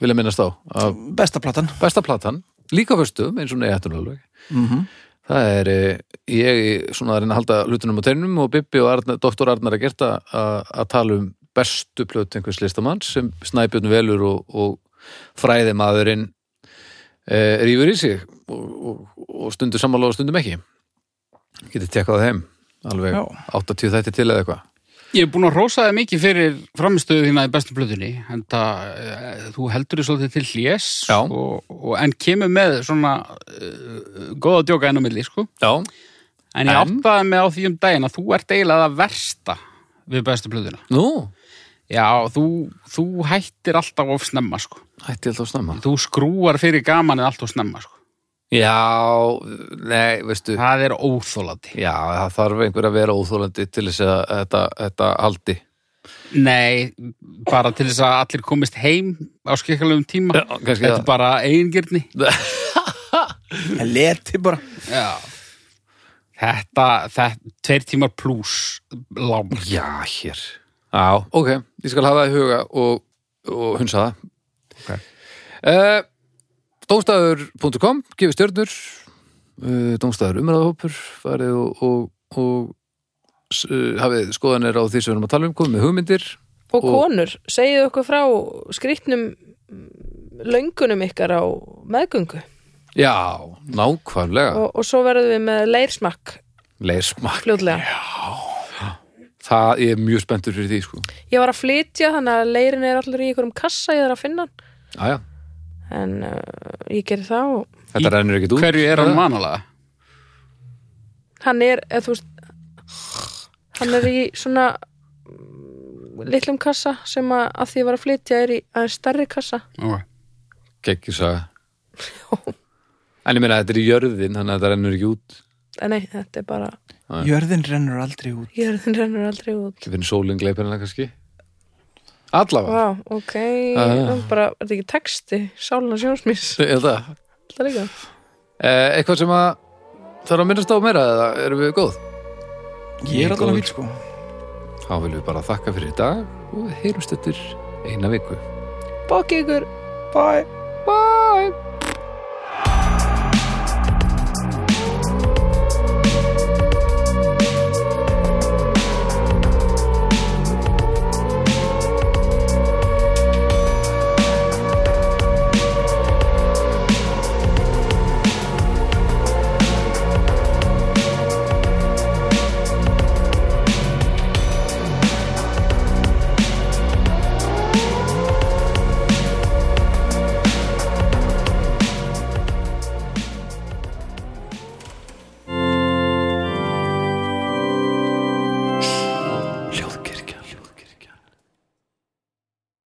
S2: vilja minnast á? Af
S3: besta platan
S2: besta platan, líka föstum, eins og neðatun alveg.
S3: mm
S2: Það er, eh, ég er svona að reyna að halda hlutunum á teinum og Bibbi og Arnar, doktor Arnar að gert að, að tala um bestu plöt einhvers listamanns sem Snæbjörn velur og, og fræði maðurinn e, rýfur í sig og, og, og stundur sammála og stundum ekki. Getið tekkað á þeim, alveg
S3: Já.
S2: 80 þætti til eða eitthvað.
S1: Ég er búin að rosa það mikið fyrir framistöðu þína í bestu plötunni, en það, eh, þú heldur þið svolítið til hljés
S2: Já.
S1: og, og, en kemur með svona uh, góða djóka enn á milli, sko.
S2: Já.
S1: En ég
S2: En?
S1: áttaði mig á því um daginn að þú ert eiginlega það versta við bestu plöðuna.
S2: Nú,
S1: Já, þú, þú hættir alltaf of snemma, sko.
S2: hætti alltaf snemma.
S1: Þú skrúar fyrir gamanið alltaf snemma, sko.
S2: Já, nei, veistu.
S1: Það er óþólandi.
S2: Já, það þarf einhver að vera óþólandi til þess að þetta, þetta haldi.
S1: Nei, bara til þess að allir komist heim á skikkalegum tíma.
S2: Já, kannski
S1: Þetta
S2: það.
S1: er bara eigingirni.
S3: Leti bara
S1: Já. Þetta, þetta, tveir tímar pluss lámar.
S2: Já, hér Já, ok, ég skal hafa það í huga og, og hunsa það
S1: Ok.
S2: uh, Dómstafur.com, gefið stjörnur uh, Dómstafur umræðahópur farið og, og, og s- uh, hafið skoðanir á því sem við erum að tala um komið með hugmyndir
S4: Og
S2: Og-
S4: konur, segið okkur frá skrýtnum löngunum ykkar á meðgöngu
S2: Já, nákvæmlega,
S4: og, og svo verðum við með leirsmakk
S2: leirsmak
S4: fljóðlega
S2: Það ég er mjög spenntur fyrir því sko.
S4: Ég var að flytja þannig að leirin er allir í einhverjum kassa ég þarf að finna hann
S2: Já, já,
S4: en uh, ég gerði það og
S2: þetta
S1: Í-
S2: rennur ekkert út
S1: Hverju er hann manalega?
S4: hann er, eða þú veist hann er í svona mm, litlum kassa sem að, að því ég var að flytja er í aðeins stærri kassa
S1: Okay.
S2: Gekkjusaga En ég meina, þetta er í jörðin, þannig að þetta rennur ekki út
S4: en nei, þetta er bara,
S3: Jörðin rennur aldrei út
S4: jörðin rennur aldrei út
S2: Ekki finnir sólinn gleipinna kannski Allavega
S4: Vá, ok
S2: Ah.
S4: uh. bara, er þetta ekki texti, sálina sjónsmís
S2: *laughs* Ég held það.
S4: þetta líka
S2: Eh, Eitthvað sem að þarf að minnast á meira eða erum við góð?
S3: Ég er alveg
S2: Góður.
S3: fíl sko
S2: Þá viljum við bara þakka fyrir í dag og við heyrumst eftir eina viku
S4: bókið ykkur
S3: Bye
S2: Bye!